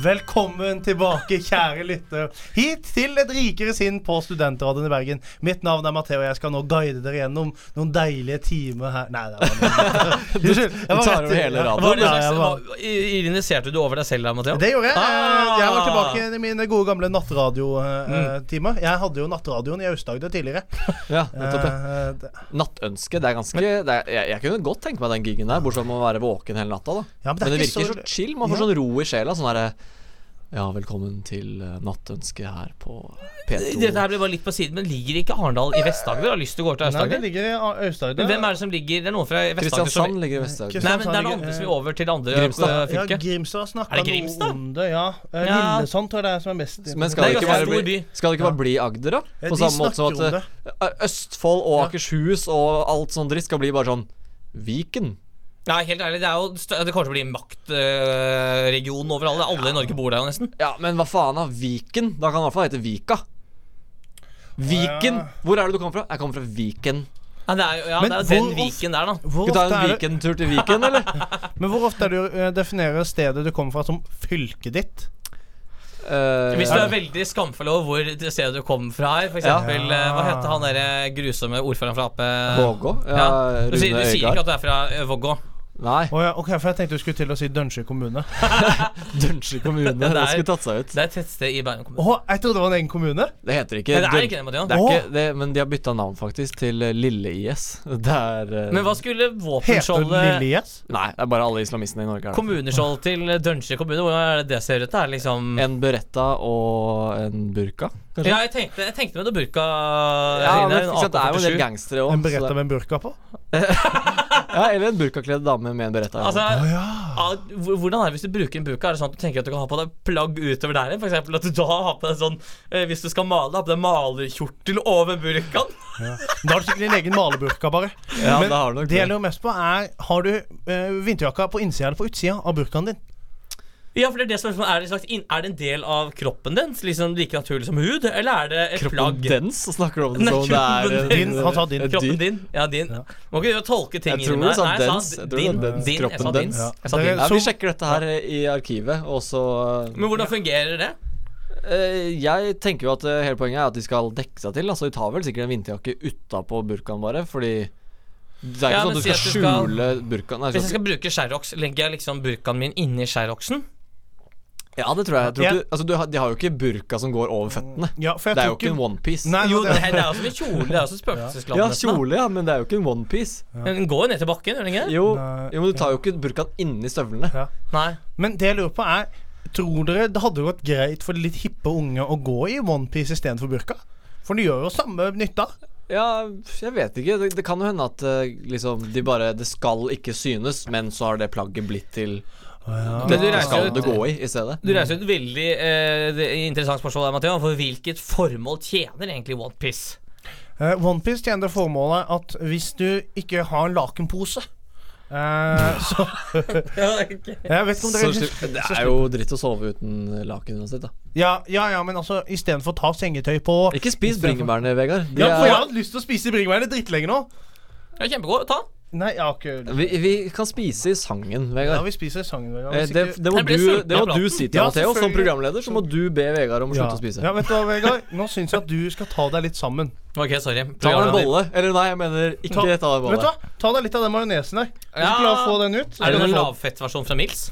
Speaker 4: Velkommen tilbake, kjære lytter, hit til et rikere sinn på Studentradioen i Bergen. Mitt navn er Matheo, og jeg skal nå guide dere gjennom noen deilige timer her Nei, det var Unnskyld. jeg var
Speaker 2: tar
Speaker 4: rett
Speaker 2: over
Speaker 4: i-
Speaker 2: hele radioen.
Speaker 3: Var det
Speaker 4: Ja, jeg
Speaker 3: slags,
Speaker 4: var-
Speaker 3: var, ironiserte du over deg selv da, Matheo?
Speaker 4: Det gjorde jeg. Eh, Jeg var
Speaker 3: Ah.
Speaker 4: tilbake i mine gode gamle nattradiotimer. Jeg hadde jo nattradioen i Aust-Agder tidligere.
Speaker 2: Ja, Mm. nettopp det.
Speaker 4: Eh, det-
Speaker 2: Nattønske, det er ganske det er, jeg, jeg kunne godt tenke meg den gigen der, bortsett fra å være våken hele natta, da.
Speaker 4: Ja, men det
Speaker 2: men,
Speaker 4: er
Speaker 2: det
Speaker 4: ikke
Speaker 2: virker
Speaker 4: så-
Speaker 2: så, chill. Man får
Speaker 4: Ja.
Speaker 2: sånn ro i sjela. Sånn herre Ja, velkommen til eh, Nattønske her på P2.
Speaker 3: Dette her ble bare litt på siden, men ligger ikke Arendal i Vest-Agder? Har lyst til å gå til
Speaker 4: Nei, det
Speaker 3: Aust-Agder?
Speaker 4: ligger i A- Aust-Agder.
Speaker 3: Men hvem er det som ligger Det er noen fra Vest-Agder som
Speaker 2: Kristiansand ligger i Vest-Agder.
Speaker 4: Kristiansand.
Speaker 3: Nei, men det er noen andre som vil over til det andre
Speaker 2: Grimstad.
Speaker 3: eh,
Speaker 4: Ja,
Speaker 3: fylket.
Speaker 4: Grimstad snakka
Speaker 3: Er det Grimstad?
Speaker 4: noe om det. Ja. Eh,
Speaker 3: Ja.
Speaker 4: Lillesand tror jeg det er som er mest
Speaker 2: Men skal det
Speaker 3: Det er
Speaker 2: ikke
Speaker 3: ganske
Speaker 2: bare
Speaker 3: stor
Speaker 2: bli,
Speaker 3: by.
Speaker 2: skal det ikke bare bli Agder, da?
Speaker 4: Ja,
Speaker 2: På
Speaker 4: de
Speaker 2: samme måte som
Speaker 4: snakker
Speaker 2: at eh, Østfold og Akershus og alt sånn dritt skal bli bare sånn Viken.
Speaker 3: Nei, helt ærlig, det er jo stø- Det kommer til å bli en maktregion overalt. Alle i Norge bor der jo nesten.
Speaker 2: Ja, men hva faen da? Viken? Da kan det i hvert fall hete Vika. Viken!
Speaker 4: Ja.
Speaker 2: Hvor er det du kommer fra? Jeg kommer fra Viken.
Speaker 3: Ja, det er jo ja,
Speaker 4: Men
Speaker 3: det er jo
Speaker 4: hvor
Speaker 3: den
Speaker 4: of-
Speaker 3: Viken der, da.
Speaker 4: Hvor
Speaker 2: Skal vi ta en
Speaker 4: ofte er det-
Speaker 2: Viken-tur til Viken, eller?
Speaker 4: Men hvor ofte er det du eh, definerer stedet du kommer fra, som fylket ditt?
Speaker 2: Eh,
Speaker 3: Hvis du er veldig skamfull over hvor det stedet du kom fra her, f.eks. eksempel eh, Hva heter han derre grusomme ordføreren fra Ap? eh?
Speaker 2: Vågå? Ja,
Speaker 3: Ja. Du, sier,
Speaker 2: Rune
Speaker 3: du sier ikke
Speaker 2: Øygard.
Speaker 3: at du er fra eh, Vågå.
Speaker 2: Nei,
Speaker 4: Å ja, ok, for jeg tenkte du skulle til å si Dønsjø kommune.
Speaker 2: Dønsje kommune. Det
Speaker 3: er-
Speaker 2: skulle tatt seg ut.
Speaker 3: Det er et tettsted i Bærum kommune.
Speaker 4: Å, jeg trodde det var en egen kommune.
Speaker 2: Det heter ikke
Speaker 3: Nei, det er
Speaker 2: Døn-
Speaker 3: ikke det, Mathias.
Speaker 2: Det er
Speaker 4: Åh!
Speaker 2: ikke det, men de har bytta navn, faktisk, til eh, Lille IS. Det er eh,
Speaker 3: Men hva skulle
Speaker 4: Heter den Lille
Speaker 3: våpenskjoldet
Speaker 4: IS?
Speaker 2: Nei, det er bare alle islamistene i Norge. er det.
Speaker 3: Kommuneskjold til Dønsje kommune, hvordan er det det ser ut? Det er liksom
Speaker 2: En beretta og en burka, kanskje?
Speaker 3: Ja, jeg tenkte, jeg tenkte med det burka
Speaker 2: men ikke sant, det er jo en del gangstere
Speaker 4: En
Speaker 2: òg.
Speaker 4: beretta med en burka på?
Speaker 2: Ja, eller en burkakledd dame med en beretta. i hånden.
Speaker 3: Altså,
Speaker 4: ja.
Speaker 3: ah, hvor- hvordan er det hvis du bruker en burka? Er det sånn at du tenker at du kan ha på deg plagg utover der? For eksempel at du da har på deg sånn eh, Hvis du skal male, ha på deg malerkjortel over burkaen?
Speaker 4: Da har du sikkert din egen maleburka, bare.
Speaker 2: ja,
Speaker 4: men
Speaker 2: det har du nok
Speaker 4: Det jeg
Speaker 2: det.
Speaker 4: lurer mest på, er Har du eh, vinterjakka på innsida eller på utsida av burkaen din?
Speaker 3: Ja, for det Er det spørsmålet er det, en slags inn- er det en del av kroppen din, liksom like naturlig som hud, eller er det et
Speaker 2: Kroppen
Speaker 3: plagg?
Speaker 2: dens og snakker om det
Speaker 3: Nei,
Speaker 2: som om det er
Speaker 3: kroppen
Speaker 2: en-
Speaker 4: din. Han sa din.
Speaker 2: et
Speaker 3: Kroppen
Speaker 2: dyr.
Speaker 3: din. Ja, din. Må ikke gjøre tolke ting
Speaker 2: Jeg tror
Speaker 3: inni meg.
Speaker 2: du sa
Speaker 3: Nei, jeg
Speaker 2: dens.
Speaker 3: sa
Speaker 2: Jeg tror
Speaker 3: din.
Speaker 2: det var dens.
Speaker 3: din. Jeg sa
Speaker 2: Kroppen
Speaker 3: din.
Speaker 2: dens.
Speaker 3: Jeg sa din.
Speaker 2: Ja, Vi sjekker dette her eh, i arkivet, og så
Speaker 3: Men hvordan fungerer det?
Speaker 2: eh, Jeg tenker jo at eh, hele poenget er at de skal dekke seg til. Altså, de tar vel sikkert en vinterjakke utapå burkaen bare, fordi det er ikke
Speaker 3: Ja,
Speaker 2: sånn at
Speaker 3: men
Speaker 2: du skal
Speaker 3: si at du skal-
Speaker 2: skjule burkaen. Nei,
Speaker 3: Hvis jeg
Speaker 2: sånn-
Speaker 3: skal bruke Sherrox, legger jeg liksom burkaen min inni Sherroxen?
Speaker 2: Ja, det tror jeg. jeg tror
Speaker 4: Ja.
Speaker 2: ikke, altså, du, har- de har jo ikke burka som går over føttene.
Speaker 4: Ja, for jeg
Speaker 2: Det er jo
Speaker 4: tok
Speaker 2: ikke en onepiece.
Speaker 4: Nei,
Speaker 3: Jo, det
Speaker 4: det,
Speaker 3: er, det er jo som en kjole. Det er jo som spøkelsesland.
Speaker 2: Ja,
Speaker 3: nesten, da.
Speaker 2: kjole, ja, men det er jo ikke en onepiece.
Speaker 3: Den går jo ned til bakken, gjør den ikke? det?
Speaker 2: Jo,
Speaker 4: Nei,
Speaker 2: jo, men du tar jo ikke burkaen inni støvlene.
Speaker 4: Ja.
Speaker 3: Nei.
Speaker 4: Men det jeg lurer på, er Tror dere det hadde gått greit for de litt hippe unge å gå i onepiece istedenfor burka? For det gjør jo samme nytta.
Speaker 2: Ja, jeg vet ikke. Det, det kan jo hende at eh, liksom de bare Det skal ikke synes, men så har det plagget blitt til
Speaker 3: Men du reiser
Speaker 2: Skal
Speaker 3: jo
Speaker 2: det gå i i stedet?
Speaker 3: Du reiser jo et veldig eh, det- interessant spørsmål der, Matheo. For hvilket formål tjener egentlig OnePiece?
Speaker 4: Uh, onepiece tjener det formålet at hvis du ikke har en lakenpose eh, så Jeg vet ikke om
Speaker 2: Så,
Speaker 4: dere
Speaker 2: slipp- det er jo dritt å sove uten laken uansett, da.
Speaker 4: ja, ja, ja, men altså istedenfor å ta sengetøy på
Speaker 2: Ikke spis bringebærene, Vegard. De
Speaker 4: Ja, for jeg
Speaker 2: er,
Speaker 4: har hatt lyst til å spise bringebær dritlenge nå.
Speaker 3: Ja, kjempegod. Ta.
Speaker 4: Nei, jeg har ikke
Speaker 2: vi, vi kan spise i sangen,
Speaker 4: Ja,
Speaker 2: Vegard.
Speaker 4: vi spiser sangen. Vegard,
Speaker 2: Eh,
Speaker 4: hvis
Speaker 2: Det,
Speaker 4: ikke-
Speaker 2: det, må
Speaker 3: Jeg ble
Speaker 2: du,
Speaker 3: sulten
Speaker 2: det
Speaker 3: av
Speaker 2: må du
Speaker 3: praten.
Speaker 2: si til
Speaker 4: Ja,
Speaker 2: Matheo. Som
Speaker 4: selvfølgelig.
Speaker 2: programleder så må du be Vegard om å
Speaker 4: ja.
Speaker 2: slutte å spise.
Speaker 4: ja, vet du hva, Vegard? Nå syns jeg at du skal ta deg litt sammen.
Speaker 3: Ok, sorry.
Speaker 2: Ta deg en bolle. Eller nei, jeg mener ikke ta, deg en
Speaker 4: Vet du
Speaker 2: bolle.
Speaker 4: hva? Ta deg litt av den majonesen der. Hvis
Speaker 3: Ja.
Speaker 4: du klarer å få den ut. så
Speaker 3: Er det
Speaker 4: kan
Speaker 3: en
Speaker 4: du få-
Speaker 3: lavfettversjon fra Mills?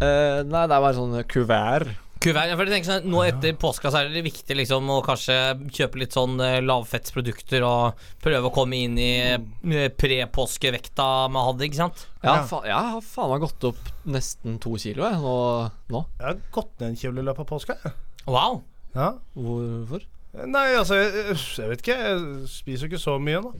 Speaker 2: Eh, nei, det er bare sånn kuvert.
Speaker 3: Kuvert, ja, for jeg tenker sånn, Nå etter påska så er det viktig liksom å kanskje kjøpe litt sånn eh, lavfettsprodukter og prøve å komme inn i eh, pre-påskevekta man hadde, ikke sant?
Speaker 2: Ja,
Speaker 4: Ja.
Speaker 2: fa jeg har faen meg gått opp nesten to kilo jeg, nå. nå.
Speaker 4: Jeg har gått ned en kilo i løpet av påska. jeg.
Speaker 3: Wow.
Speaker 4: Ja.
Speaker 2: Hvorfor?
Speaker 4: Nei, altså jeg, jeg vet ikke. Jeg spiser jo ikke så mye nå.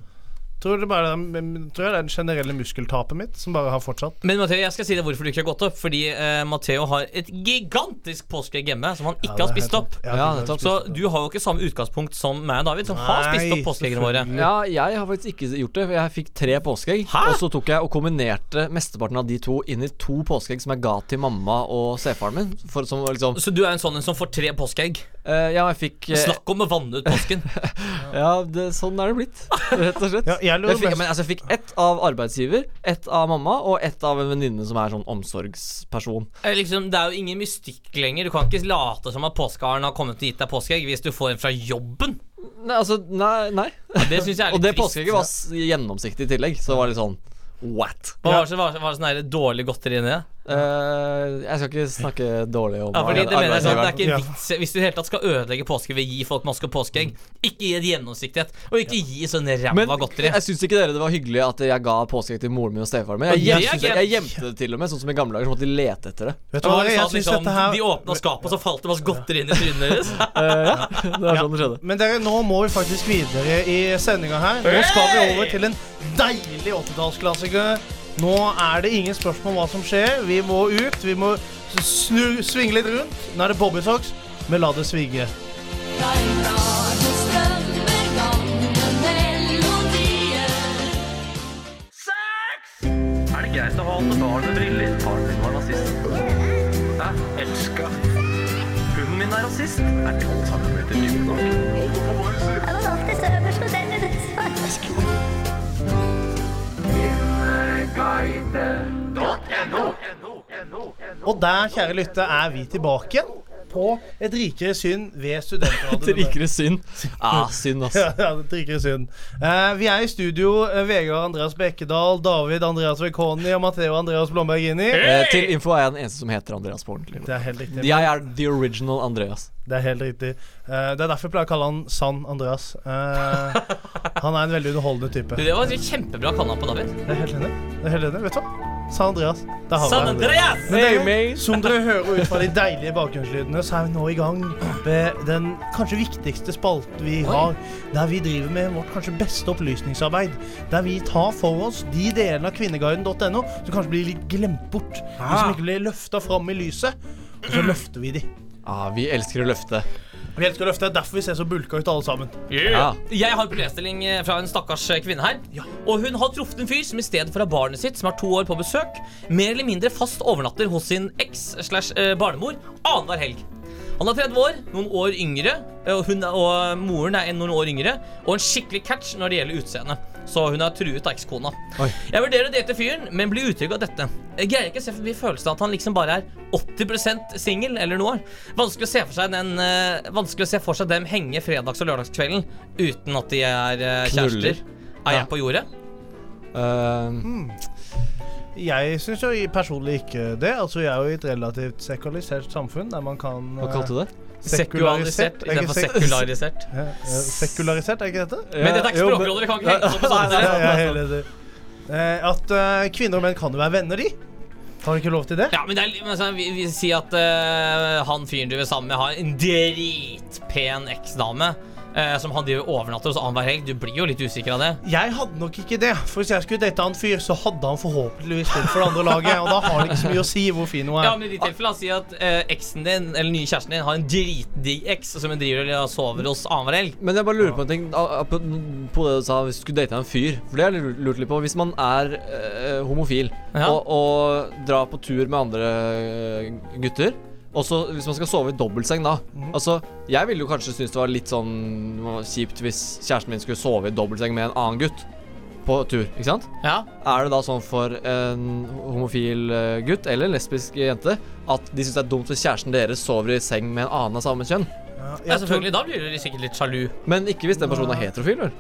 Speaker 4: Tror, det bare, men- tror jeg det er det generelle muskeltapet mitt som bare har fortsatt.
Speaker 3: Men Matteo, jeg skal si deg hvorfor du ikke har gått opp. Fordi eh, Matteo har et gigantisk påskeegg hjemme som han ikke har spist opp.
Speaker 2: Ja, nettopp.
Speaker 3: Så du har jo ikke samme utgangspunkt som meg og David, som har
Speaker 4: Nei,
Speaker 3: spist opp påskeeggene våre.
Speaker 2: Ja, jeg har faktisk ikke gjort det. for Jeg fikk tre påskeegg.
Speaker 3: Hæ?
Speaker 2: Og så tok jeg og kombinerte mesteparten av de to inn i to påskeegg som jeg ga til mamma og stefaren min. For som var liksom
Speaker 3: Så du er en sånn en som får tre påskeegg?
Speaker 2: eh, Ja, jeg fikk eh,
Speaker 3: Snakk om å vanne ut påsken.
Speaker 2: Ja, det, sånn er det blitt. Rett og slett.
Speaker 4: Ja, jeg lurer
Speaker 2: jeg fikk,
Speaker 4: mest-
Speaker 2: men altså, jeg fikk ett av arbeidsgiver, ett av mamma og ett av en venninne som er sånn omsorgsperson.
Speaker 3: Eh, liksom, det er jo ingen mystikk lenger. Du kan ikke late som at påskeharen har kommet og gitt deg påskeegg hvis du får en fra jobben.
Speaker 2: Nei, altså, nei. nei.
Speaker 3: Det synes jeg er litt
Speaker 2: Og det
Speaker 3: trist.
Speaker 2: påskeegget var s- gjennomsiktig i tillegg, så det var litt sånn what?
Speaker 3: Hva var det som var, var det sånn her dårlig godteri inni det?
Speaker 2: Eh, jeg skal ikke snakke dårlig om
Speaker 3: Ja, fordi det mener jeg sånn, det er
Speaker 2: arbeidsgiveren.
Speaker 3: ikke vits Hvis du i det hele tatt skal ødelegge påske ved å gi folk maske og påskeegg, ikke gi det gjennomsiktighet, og ikke gi sånn
Speaker 2: Men
Speaker 3: ræva godteri.
Speaker 2: jeg syns ikke dere det var hyggelig at jeg ga påskeegg til moren min og stefaren min. Jeg,
Speaker 3: Og det er
Speaker 2: gjem- synes jeg, jeg gjemte det til og med, sånn som i gamle dager, så måtte de lete etter det.
Speaker 4: Vet du
Speaker 3: Det
Speaker 4: hva,
Speaker 3: var
Speaker 4: jeg
Speaker 3: sånn at
Speaker 4: synes
Speaker 3: liksom,
Speaker 4: dette her
Speaker 3: De åpna skapet, og så falt det masse godteri inn i trynet deres.
Speaker 2: Eh, ja, det er sånn det skjedde.
Speaker 4: Men dere, nå må vi faktisk videre i sendinga her. Nå skal vi over til en deilig 80-tallsklassiker. Nå er det ingen spørsmål om hva som skjer. Vi må ut. Vi må snu, svinge litt rundt. Nå er det Bobbysocks med La det svige. Og der, kjære lytte, er vi tilbake igjen på Et rikere syn ved
Speaker 2: Til
Speaker 4: studentradioen.
Speaker 2: rikere synd. Ah, synd, ass.
Speaker 4: Ja, ja, det drikker i synd. Eh, vi er i studio. eh, Vegard Andreas Bekkedal, David Andreas Vekoni og Matheo Andreas Blombergini.
Speaker 2: Eh, til info er jeg den eneste som heter Andreas på ordentlig.
Speaker 4: Det er helt riktig.
Speaker 2: Jeg er the original Andreas.
Speaker 4: Det er helt riktig. Eh, det er derfor jeg pleier å kalle han Sann Andreas. Eh, han er en veldig underholdende type.
Speaker 3: Du,
Speaker 4: Det
Speaker 3: Det var et kjempebra kanna på David.
Speaker 4: er helt enig. Det er helt enig. Vet du hva? Sann Andreas. Der har vi
Speaker 3: San
Speaker 4: deg.
Speaker 3: Andreas!
Speaker 4: Men dere, som dere hører ut fra de deilige bakgrunnslydene, så er vi nå i gang med den kanskje viktigste spalten vi har, der vi driver med vårt kanskje beste opplysningsarbeid. Der vi tar for oss de delene av kvinneguiden.no som kanskje blir litt glemt bort.
Speaker 2: Ah.
Speaker 4: De som ikke blir løfta fram i lyset. Og så løfter vi de.
Speaker 2: Ah, vi elsker å løfte.
Speaker 4: vi helst skal løfte. Det er derfor vi ser så bulka ut alle sammen.
Speaker 2: Ja.
Speaker 3: Jeg har en problemstilling eh, fra en stakkars eh, kvinne her. Og hun har truffet en fyr som i stedet for å ha barnet sitt, som er to år på besøk, mer eller mindre fast overnatter hos sin eks slash eh, barnemor annenhver helg. Han er 30 år, noen år yngre, eh, og, hun er, og moren er noen år yngre, og en skikkelig catch når det gjelder utseende. Så hun er truet av ekskona.
Speaker 2: Oi.
Speaker 3: Jeg vurderer å date fyren, men blir utrygg av dette. Jeg greier ikke å se forbi følelsen av at han liksom bare er 80 singel eller noe. Vanskelig å se for seg den eh, Vanskelig å se for seg dem henge fredags- og lørdagskvelden uten at de er eh,
Speaker 2: Knuller.
Speaker 3: kjærester. Er
Speaker 2: Ja.
Speaker 3: jeg på jordet?
Speaker 2: Eh,
Speaker 4: Jeg syns jo personlig ikke det. Altså, jeg er jo i et relativt sekularisert samfunn der man kan
Speaker 2: hva kalte du det?
Speaker 4: Sekularisert,
Speaker 3: Sekularisert istedenfor
Speaker 4: ikke sek-
Speaker 3: sekularisert.
Speaker 4: eh, Sekularisert, er ikke dette?
Speaker 3: Men dette er ikke
Speaker 2: Jo, men-
Speaker 3: Språkrådet, vi kan ikke henge oss opp på sånne
Speaker 4: Nei,
Speaker 3: ting.
Speaker 4: jeg er helt enig. Eh, At eh, kvinner og menn kan jo være venner, de. Har de ikke lov til det?
Speaker 3: Ja, men det er, litt- men sånn, vi, vi sier at eh, han fyren du vil sammen med, har en dritpen eksdame. eh, som han driver overnatter hos annenhver helg. Du blir jo litt usikker av det.
Speaker 4: Jeg hadde nok ikke det. For hvis jeg skulle date en fyr, så hadde han forhåpentligvis spilt for det andre laget. Og da har det ikke så mye å si hvor fin hun er.
Speaker 3: Ja, men i ditt tilfelle, la oss si at eh, eksen din, eller nye kjæresten din, har en dritdigg eks som hun driver og sover hos annenhver helg.
Speaker 2: Men jeg bare lurer på en ting a- a- på på det du sa hvis du skulle date en fyr. For det har jeg lurt- lurt litt på. Hvis man er eh, homofil
Speaker 3: Ja.
Speaker 2: og, og drar på tur med andre eh, gutter og så Hvis man skal sove i dobbeltseng, da Altså, Jeg ville jo kanskje synes det var litt sånn kjipt hvis kjæresten min skulle sove i dobbeltseng med en annen gutt på tur. ikke sant?
Speaker 3: Ja.
Speaker 2: Er det da sånn for en homofil eh, gutt eller en lesbisk jente at de syns det er dumt hvis kjæresten deres sover i seng med en annen av samme kjønn?
Speaker 4: Ja, jeg
Speaker 3: ja,
Speaker 4: tror-
Speaker 3: selvfølgelig. Da blir du sikkert litt sjalu.
Speaker 2: Men ikke hvis den personen er heterofil, vel?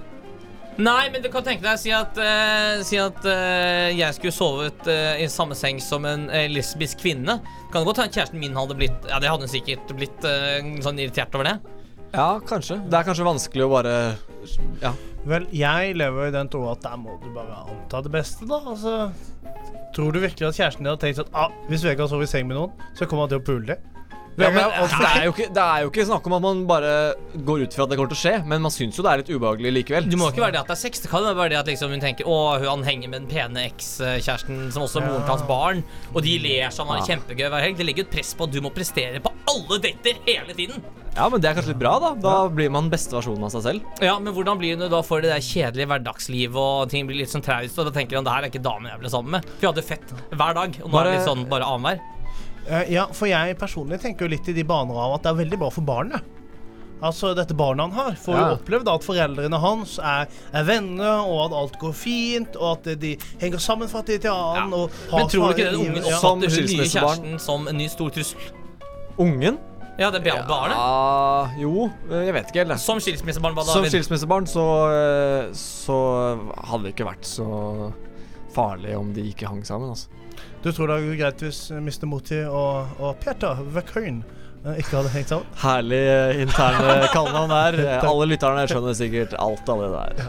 Speaker 3: Nei, men du kan tenke deg si at, eh, si at eh, jeg skulle sovet eh, i samme seng som en eh, lesbisk kvinne. Kan det godt hende kjæresten min hadde blitt Ja, det hadde hun sikkert blitt eh, sånn irritert over det.
Speaker 2: Ja, kanskje. Det er kanskje vanskelig å bare Ja.
Speaker 4: Vel, jeg lever jo i den troa at der må du bare anta det beste, da. Altså, tror du virkelig at kjæresten din har tenkt at ah, hvis Vegard sover i seng med noen, så kommer han til å pule det?
Speaker 2: ja men, altså, det, er jo ikke, det er jo ikke snakk om at man bare går ut fra at det kommer til å skje, men man syns jo det er litt ubehagelig likevel.
Speaker 3: Du må jo ikke være det at det er sex. Det kan jo være det at liksom hun tenker Å, han henger med den pene ekskjæresten som også er moren til hans barn, og de ler sammen, har det kjempegøy hver helg. Det legger jo et press på at du må prestere på alle dater hele tiden.
Speaker 2: Ja, men det er kanskje litt bra, da. Da blir man beste versjonen av seg selv.
Speaker 3: Ja, men hvordan blir hun da for det der kjedelige hverdagslivet, og ting blir litt sånn traust, og da tenker han det her er ikke damen jeg ble sammen med. For jeg hadde fett hver dag, og nå er det
Speaker 2: Bare-
Speaker 3: litt sånn bare annenhver.
Speaker 4: Eh, ja, for jeg personlig tenker jo litt i de baner av at det er veldig bra for barnet. Altså, dette barnet han har, får
Speaker 2: Ja.
Speaker 4: jo opplevd at foreldrene hans er, er venner, og at alt går fint, og at de henger sammen fra tid til annen. Og har
Speaker 3: Men tror du ikke
Speaker 4: svære
Speaker 3: den
Speaker 4: liv-
Speaker 3: ungen
Speaker 4: Ja.
Speaker 2: Som
Speaker 3: oppfatter hun nye
Speaker 2: skilsmissebarn.
Speaker 3: kjæresten som en ny stor trussel?
Speaker 2: Ungen?
Speaker 3: Ja, det er barnet.
Speaker 2: Ja, jo, eh, jeg vet ikke helt. jeg.
Speaker 3: Som skilsmissebarn, hva da?
Speaker 2: Som
Speaker 3: Vin?
Speaker 2: skilsmissebarn så, eh, så hadde det ikke vært så farlig om de ikke hang sammen, altså.
Speaker 4: Du tror det er greit hvis eh, Mr. Moti og, og Peter Vekøyn eh, ikke hadde hengt sammen?
Speaker 2: Herlig eh, interne kallenavn der. Eh, Alle lytterne skjønner sikkert alt av det der.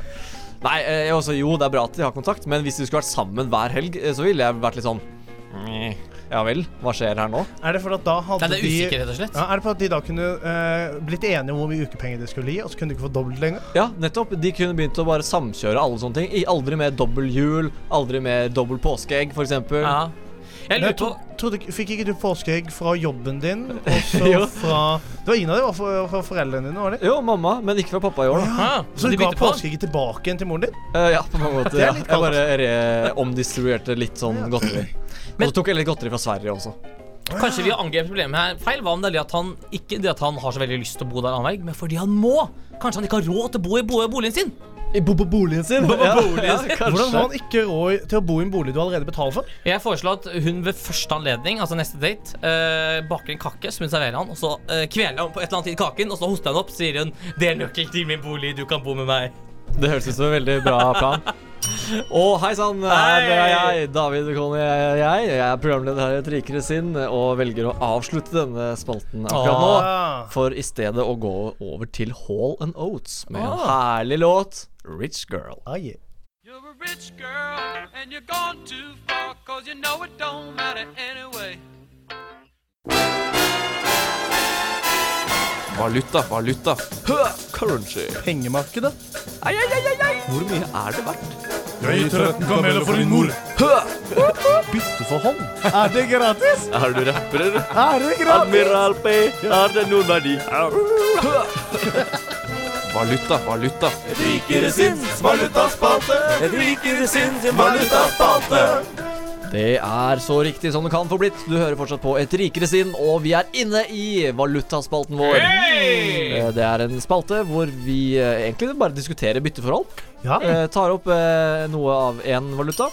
Speaker 2: Nei, eh, også, jo, det er bra at de har kontakt, men hvis de skulle vært sammen hver helg, eh, så ville jeg vært litt sånn «Meh, Ja vel, hva skjer her nå?
Speaker 4: Er det for at da
Speaker 3: Nei,
Speaker 4: hadde
Speaker 3: det er
Speaker 4: de
Speaker 3: usikker, rett og slett.
Speaker 4: Ja, er det på at de da kunne eh, blitt enige om hvor mye ukepenger de skulle gi, og så kunne de ikke få dobbelt lenger?
Speaker 2: Ja, nettopp. De kunne begynt å bare samkjøre alle sånne ting. I- Aldri mer dobbel jul, aldri mer dobbel påskeegg, f.eks.
Speaker 3: Ja. Jeg
Speaker 4: Jeg
Speaker 3: lurer på
Speaker 4: tro, trodde, ikke- fikk ikke du påskeegg fra jobben din, og
Speaker 2: Jo.
Speaker 4: så fra Det var ingen av dem var fra, fra foreldrene dine, var det?
Speaker 2: Jo, mamma, men ikke fra pappa i år, da.
Speaker 3: Hæ?
Speaker 4: Så
Speaker 3: de
Speaker 4: du ga
Speaker 3: bytter på?
Speaker 4: påskeegget tilbake igjen til moren din?
Speaker 2: Eh, ja, på mange måter.
Speaker 4: Det er
Speaker 2: Ja.
Speaker 4: litt
Speaker 2: Jeg
Speaker 4: kaldt,
Speaker 2: bare re omdistribuerte litt sånn godteri. Og så tok jeg litt godteri fra Sverige også.
Speaker 3: Kanskje vi har angrepet problemet her feil. Hva om det er det at han ikke det at han har så veldig lyst til å bo der annenhver helg, men fordi han må? Kanskje han ikke har råd til å bo i bo boligen sin?
Speaker 2: I bo på boligen sin? Bo på boligen sin.
Speaker 4: Hvordan har han ikke råd til å bo i en bolig du allerede betaler for?
Speaker 3: Jeg foreslår at hun ved første anledning, altså neste date, eh, baker en kake som hun serverer han, og så eh, kveler han på et eller annet tid kaken, og så hoster han opp, så sier hun 'Del nøkkel til min bolig, du kan bo med meg'.
Speaker 2: Det høres ut som en veldig bra plan. Og hei sann, her er jeg, David Conny. Jeg, jeg, jeg er programleder her i Et rikere sinn og velger å avslutte denne spalten akkurat nå.
Speaker 4: Ah.
Speaker 2: For i stedet å gå over til Hall and Oates med en herlig låt, Rich Girl.
Speaker 4: Ah, yeah.
Speaker 9: You're a rich girl and you're gone too far cause you know it don't matter anyway.
Speaker 10: Valuta, valuta. Hø! Currency.
Speaker 4: Pengemarkedet?
Speaker 10: Hvor mye er det verdt?
Speaker 8: Jeg gir 13 kameler for din mor.
Speaker 10: Bytte for hånd?
Speaker 8: Er det gratis?
Speaker 10: Er du rapper, eller?
Speaker 8: Er det gratis?
Speaker 10: Admiral P, har det noen verdi? Valuta, valuta. Rikere sinns valutaspalte. Rikere sinns valutaspalte.
Speaker 2: Det er så riktig som det kan få blitt. Du hører fortsatt på Et rikere sinn, og vi er inne i valutaspalten vår. Eh, Det er en spalte hvor vi eh, egentlig bare diskuterer bytteforhold.
Speaker 4: Ja.
Speaker 2: Eh, Tar opp eh, noe av én valuta.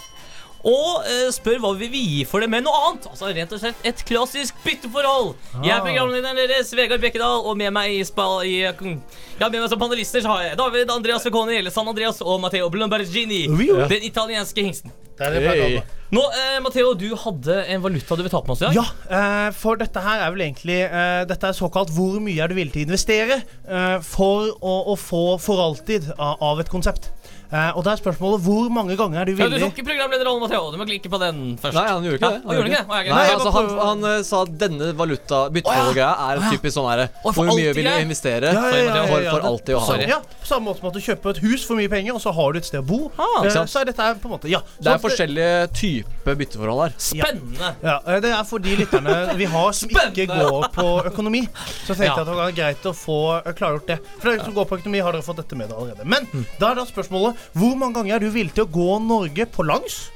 Speaker 3: Og eh, spør hva vi vil gi for det med noe annet. Altså rett og slett et klassisk bytteforhold. Jeg er programlederen deres, Vegard Bekkedal, og med meg i spa... I, ja, med meg som panelister så har jeg David Andreas Vekoni, eller San Andreas, og Matteo Blumbergini.
Speaker 4: Ui.
Speaker 3: Den italienske hingsten.
Speaker 4: Det er det jeg pleier å kalle det.
Speaker 3: Nå, eh, Matteo, du hadde en valuta du ville ta på med oss i dag.
Speaker 4: Ja, eh, for dette her er vel egentlig eh, Dette er såkalt 'hvor mye er du villig til å investere' eh, for å, å få for alltid av, av et konsept. Eh, og da er spørsmålet hvor mange ganger er du
Speaker 3: Ja, du
Speaker 4: villig
Speaker 3: tok ikke programlederrollen, Matteo. Du må klikke på den først.
Speaker 2: Nei, han gjorde ikke det.
Speaker 3: Å, gjorde han ikke det? Å, jeg
Speaker 2: Nei,
Speaker 3: glemte.
Speaker 2: altså Han, han eh, sa at denne valuta bytteforholdgreia er en typisk sånn herre
Speaker 3: for
Speaker 2: Hvor mye
Speaker 3: alltid
Speaker 2: vil du
Speaker 3: greie.
Speaker 2: investere
Speaker 4: Ja, ja, ja, ja,
Speaker 2: for,
Speaker 4: ja,
Speaker 2: for
Speaker 4: det-
Speaker 2: alltid å ha?
Speaker 3: Sorry.
Speaker 2: det?
Speaker 4: Ja, På samme måte som at du kjøper et hus for mye penger, og så har du et sted å bo.
Speaker 3: Ah,
Speaker 4: Eh,
Speaker 2: ikke sant?
Speaker 4: så er dette her på en måte Ja.
Speaker 2: Det
Speaker 4: sånn
Speaker 2: er
Speaker 4: at det-
Speaker 2: forskjellige typer bytteforhold her.
Speaker 3: Spennende.
Speaker 4: Ja, eh, Det er for de lytterne vi har som ikke
Speaker 3: Spennende.
Speaker 4: går på økonomi. Så tenkte jeg
Speaker 3: Ja.
Speaker 4: at det var greit å få eh, klargjort det. For dere som går på økonomi, har dere fått dette med dere allerede. Men
Speaker 3: Mm.
Speaker 4: da er da spørsmålet hvor mange ganger er du villig til å gå Norge på langs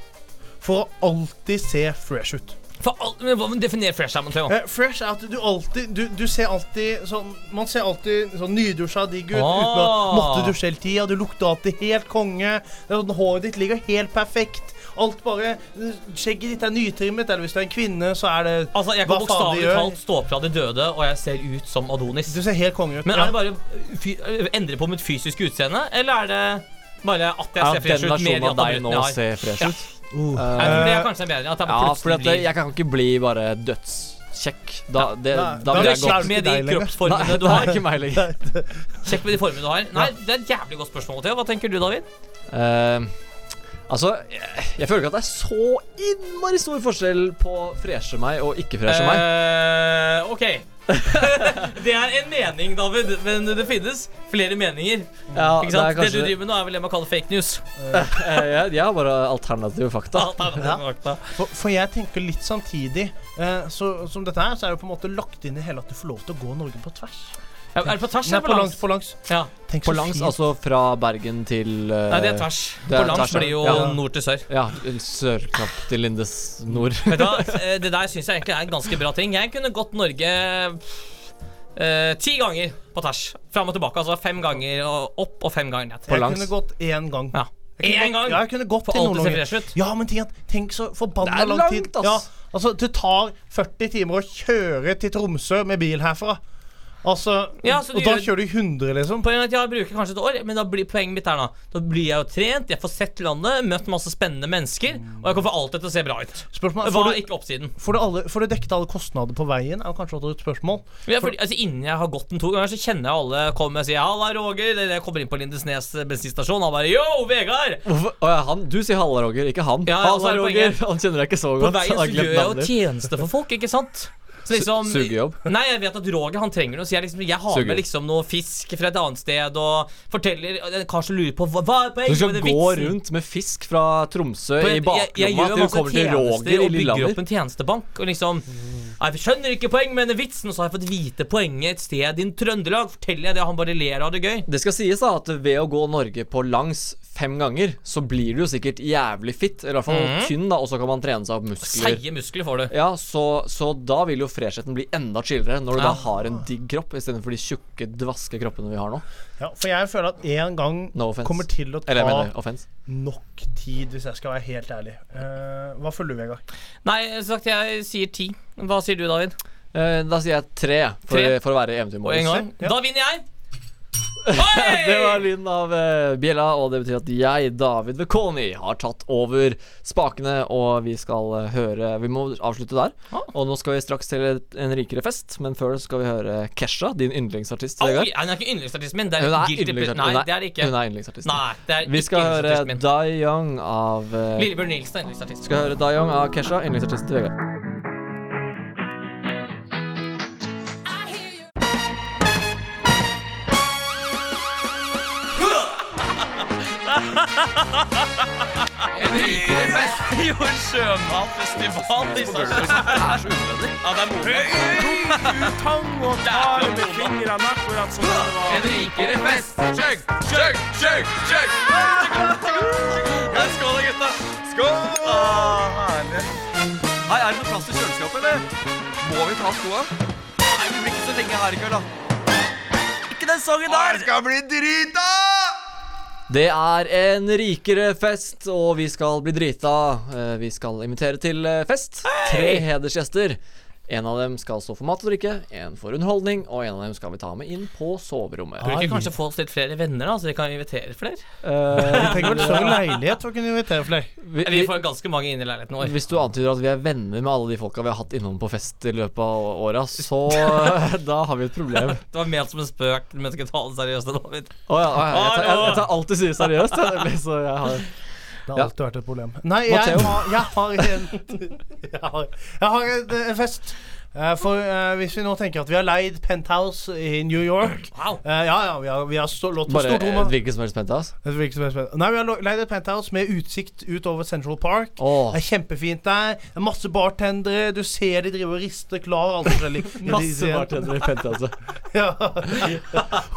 Speaker 4: for å alltid se fresh ut?
Speaker 3: For all, men hva- men Definer fresh her, Matteo.
Speaker 4: Eh, fresh er at du alltid Du, du ser alltid sånn Man ser alltid sånn nydusja digg ut
Speaker 3: Ah.
Speaker 4: uten å måtte dusje hele tida. Du lukter alltid helt konge. Det er sånn, håret ditt ligger helt perfekt. Alt bare eh, Skjegget ditt er nytrimmet, eller hvis du er en kvinne, så er det
Speaker 3: Altså, Jeg kan
Speaker 4: hva faen
Speaker 3: bokstavelig
Speaker 4: de gjør.
Speaker 3: talt stå opp fra de døde, og jeg ser ut som Adonis.
Speaker 4: Du ser helt konge ut.
Speaker 3: Men
Speaker 4: ja.
Speaker 3: er det bare fy, endre på mitt fysiske utseende, eller er det bare at jeg
Speaker 2: Ja,
Speaker 3: ser
Speaker 2: den
Speaker 3: fresh ut? mer
Speaker 2: versjonen
Speaker 3: enn
Speaker 2: av deg
Speaker 3: at
Speaker 2: nå
Speaker 3: jeg har-
Speaker 2: ser fresh
Speaker 3: Ja.
Speaker 2: ut.
Speaker 4: Uh,
Speaker 3: Jeg tror det er kanskje bedre. At jeg
Speaker 2: Ja, for
Speaker 3: plutselig
Speaker 2: at
Speaker 3: blir
Speaker 2: jeg kan ikke bli bare dødskjekk. Da, det,
Speaker 4: Nei,
Speaker 2: da
Speaker 4: da
Speaker 2: vil
Speaker 4: er
Speaker 2: jeg
Speaker 4: det
Speaker 2: gå
Speaker 4: kjekk.
Speaker 2: Nei,
Speaker 3: med de
Speaker 4: deg lenger.
Speaker 3: kroppsformene du
Speaker 2: det
Speaker 3: har.
Speaker 2: er ikke meg lenger.
Speaker 3: Sjekk med de formene du har. Nei, Det er et jævlig godt spørsmål. Theo. Hva tenker du, David?
Speaker 2: Eh, altså, jeg, jeg føler ikke at det er så innmari stor forskjell på freshe meg og ikke freshe meg.
Speaker 3: Eh, OK. det er en mening, David, men det finnes flere meninger.
Speaker 2: Ja,
Speaker 3: Eh, Ikke
Speaker 2: det
Speaker 3: sant?
Speaker 2: er
Speaker 3: Det,
Speaker 2: kanskje
Speaker 3: du driver med nå, er vel det man kaller fake news.
Speaker 2: Eh, jeg, jeg har bare alternative fakta.
Speaker 3: Alt annet er fakta.
Speaker 4: For, for jeg tenker litt samtidig eh, så, som dette her, så er det på en måte lagt inn i hele at du får lov til å gå Norge på tvers.
Speaker 3: Ja, Er det på tvers
Speaker 4: Nei,
Speaker 3: eller på langs?
Speaker 4: På langs.
Speaker 3: Ja.
Speaker 4: Tenk
Speaker 2: På
Speaker 4: så
Speaker 2: langs,
Speaker 4: fint.
Speaker 2: altså fra Bergen til eh,
Speaker 3: Nei, det er tvers.
Speaker 2: det er
Speaker 3: på langs
Speaker 2: tvers, ja.
Speaker 3: blir jo
Speaker 2: Ja.
Speaker 3: nord til sør.
Speaker 2: Ja, sørknapp til Lindes nord.
Speaker 3: Vet du hva, Eh, Det der syns jeg egentlig er en ganske bra ting. Jeg kunne gått Norge eh, ti ganger på tvers. Fram og tilbake. Altså fem ganger og opp og fem ganger ned.
Speaker 2: på
Speaker 4: Jeg
Speaker 2: langs.
Speaker 4: kunne gått én gang.
Speaker 3: Ja.
Speaker 4: Jeg kunne
Speaker 3: Én
Speaker 4: gått-
Speaker 3: gang!
Speaker 4: Ja, jeg kunne gått
Speaker 3: For
Speaker 4: til
Speaker 3: alt det ser
Speaker 4: Nord-Norge.
Speaker 3: fresh ut.
Speaker 4: Ja, men tenk, tenk så
Speaker 2: Det
Speaker 4: forbanna
Speaker 2: er
Speaker 4: lang tid.
Speaker 2: langt, ass.
Speaker 4: Ja, altså, det tar 40 timer å kjøre til Tromsø med bil herfra. Altså,
Speaker 3: Ja, så du
Speaker 4: og da
Speaker 3: gjør-
Speaker 4: kjører du 100, liksom.
Speaker 3: Poenget er at jeg bruker kanskje et år, men da blir poenget mitt her nå. Da blir jeg jo trent, jeg får sett landet, møtt masse spennende mennesker, og jeg kan få alt dette til å se bra ut.
Speaker 4: Spørsmålet er,
Speaker 3: Hva
Speaker 4: får
Speaker 3: er
Speaker 4: du,
Speaker 3: ikke oppsiden?
Speaker 4: får, du alle, får du dekket alle kostnader på veien? Er jo kanskje også et spørsmål.
Speaker 3: Ja, fordi, altså, innen jeg har gått den to ganger, så kjenner jeg alle kommer og sier 'halla, Roger'. Eller jeg kommer inn på Lindesnes bensinstasjon, han bare 'yo, Vegard'.
Speaker 2: Hvorfor? Å, ja, han, du sier Halla Roger, ikke han.
Speaker 3: Ja, ja, og så
Speaker 2: Halla
Speaker 3: er det
Speaker 2: Roger,
Speaker 3: poenget.
Speaker 2: Han kjenner deg ikke så
Speaker 3: På
Speaker 2: godt. han
Speaker 3: veien så
Speaker 2: har glemt
Speaker 3: gjør jeg jo
Speaker 2: navnet ditt.
Speaker 3: tjeneste for folk, ikke sant? Så liksom,
Speaker 2: Su- sugejobb.
Speaker 3: Nei, jeg vet at Roger han trenger noe, så jeg, liksom, jeg har
Speaker 2: Sugejobb.
Speaker 3: med liksom noe fisk fra et annet sted og forteller og En kar som lurer på hva, hva er
Speaker 2: Du
Speaker 3: poenget
Speaker 2: skal
Speaker 3: med den
Speaker 2: gå
Speaker 3: vitsen?
Speaker 2: rundt med fisk fra Tromsø
Speaker 3: For
Speaker 2: i
Speaker 3: jeg- jeg- jeg
Speaker 2: baklomma
Speaker 3: gjør
Speaker 2: til du
Speaker 3: masse
Speaker 2: kommer til
Speaker 3: tjenester
Speaker 2: Roger i
Speaker 3: og bygger opp
Speaker 2: Lillehammer.
Speaker 3: en tjenestebank og liksom Nei, Jeg skjønner ikke poenget med denne vitsen, og så har jeg fått vite poenget et sted i Trøndelag. Forteller jeg det, og han bare ler og har det gøy.
Speaker 2: Det skal sies da at ved å gå Norge på langs fem ganger, så blir du jo sikkert jævlig fit. Eller i hvert fall
Speaker 3: Mhm.
Speaker 2: tynn, da, og så kan man trene seg opp muskler.
Speaker 3: Seige muskler får du.
Speaker 2: Ja, så, så da vil jo fresheten bli enda chillere, når du
Speaker 3: Ja.
Speaker 2: da har en digg kropp istedenfor de tjukke, dvaske kroppene vi har nå.
Speaker 4: Ja, for jeg føler at én gang
Speaker 2: No offense.
Speaker 4: kommer til å ta
Speaker 2: Eller jeg mener offense.
Speaker 4: nok tid, hvis jeg skal være helt ærlig. Eh, hva føler du, Vegard?
Speaker 3: Nei, som sagt, jeg sier ti. Hva sier du, David?
Speaker 2: Eh, da sier jeg tre, for,
Speaker 3: Tre?
Speaker 2: for å være
Speaker 3: Og en
Speaker 2: eventyrmodus.
Speaker 3: gang.
Speaker 4: Ja.
Speaker 3: Da vinner jeg! Oi!
Speaker 2: Det var lyden av eh, bjella, og det betyr at jeg, David Vekoni, har tatt over spakene. Og vi skal eh, høre Vi må avslutte der.
Speaker 3: Ah.
Speaker 2: Og nå skal vi straks til et- en rikere fest, men før det skal vi høre Kesha, din yndlingsartist.
Speaker 3: Au,
Speaker 2: Vegard.
Speaker 3: ja, hun er ikke yndlingsartisten min. Det er
Speaker 2: Hun er
Speaker 3: guilty pleasure.
Speaker 2: yndlingsartist.
Speaker 3: Nei,
Speaker 2: Hun
Speaker 3: det er det ikke.
Speaker 2: Hun er yndlingsartist.
Speaker 3: Nei, det er
Speaker 2: Vi skal
Speaker 3: ikke
Speaker 2: høre
Speaker 3: yndlingsartisten min.
Speaker 2: Dai Young av eh,
Speaker 3: Lillebjørn Nilsen er yndlingsartist.
Speaker 2: Skal høre Dai Young av Kesha, yndlingsartisten til Vegard.
Speaker 3: Nei, Jo, en sjømatfestival i Sarpsborg. Ja, det er moro.
Speaker 10: En rikere fest. Chug, chug, chug, chug.
Speaker 3: Ja, Skål, da, gutta.
Speaker 10: Hei, er det noe plass til kjøleskapet, eller? Må vi ta av skoa? Nei, vi blir ikke så lenge her i kveld, da. Ikke den sangen der! Det skal bli drita!
Speaker 2: Det er en rikere fest, og vi skal bli drita. Eh, Vi skal invitere til eh, fest. Tre hedersgjester. En av dem skal stå for mat og drikke, en for underholdning, og en av dem skal vi ta med inn på soverommet.
Speaker 3: Burde ikke kanskje få oss litt flere venner, da, så vi kan invitere flere?
Speaker 2: Eh,
Speaker 4: Vi trenger vel større leilighet for å kunne invitere flere.
Speaker 2: vi,
Speaker 3: Vi
Speaker 2: vi,
Speaker 3: får ganske mange inn i leiligheten vår.
Speaker 2: hvis du antyder at vi er venner med alle de folka vi har hatt innom på fest i løpet av åra, så eh, da har vi et problem.
Speaker 3: Det var ment som en spøk, men jeg skal ta det seriøst. David.
Speaker 2: Å ja, å ja, jeg, tar, jeg, jeg tar alt du sier seriøst. jeg, nemlig, Så jeg har
Speaker 4: Det har
Speaker 2: Ja.
Speaker 4: alltid vært et problem. Nei, jeg
Speaker 2: Matteo?
Speaker 4: har, jeg har en Jeg har, jeg har en, en fest. Eh, For eh, hvis vi nå tenker at vi har leid penthouse i New York
Speaker 3: Wow.
Speaker 4: eh, Ja, ja, vi har, vi har stå, lått oss
Speaker 2: bare
Speaker 4: stort
Speaker 2: et
Speaker 4: rom. da.
Speaker 2: hvilket som helst altså. penthouse.
Speaker 4: Det virker som et spenn- Nei, vi har lo- leid et penthouse med utsikt utover Central Park.
Speaker 2: Åh.
Speaker 4: Det er kjempefint der. Det er masse bartendere. Du ser de driver og rister klar. Alt forskjellig.
Speaker 2: Masse bartendere i altså. penthouset.
Speaker 4: Ja.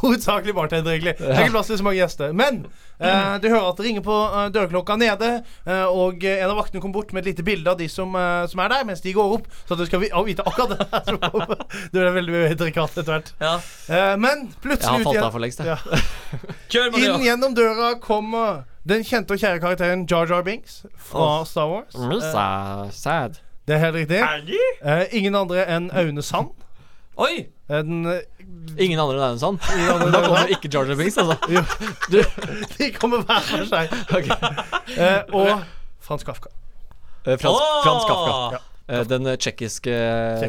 Speaker 4: Hovedsakelig bartender, egentlig. Det er ikke plass til så mange gjester. Men eh, du hører at det ringer på eh, dørklokka nede, eh, og eh, en av vaktene kom bort med et lite bilde av de som, eh, som er der, mens de går opp. Så at du skal vi- ja, vite akkurat det der som kommer. Du er veldig mye intrikat etter hvert.
Speaker 3: Ja.
Speaker 4: Eh, men
Speaker 2: Jeg har
Speaker 4: plutselig ut
Speaker 2: falt
Speaker 4: igjen-
Speaker 2: av for lengst, jeg.
Speaker 4: Ja.
Speaker 3: Kjør,
Speaker 4: Inn
Speaker 3: Matheo.
Speaker 4: gjennom døra kommer den kjente og kjære karakteren Jar Jar Binks fra Star Wars.
Speaker 2: Musa, sad.
Speaker 4: Det er helt riktig. Eh, ingen andre enn Aune Sand.
Speaker 3: Oi!
Speaker 4: Eh, Den, eh,
Speaker 2: Ingen andre enn sånn. Da kommer ikke Jarger Binks, altså.
Speaker 4: de kommer hver for seg.
Speaker 2: Ok.
Speaker 4: Eh, og Frans Kafka.
Speaker 2: Eh, Frans,
Speaker 3: Åh!
Speaker 2: Frans Kafka. Eh, Den eh, tjekkiske eh,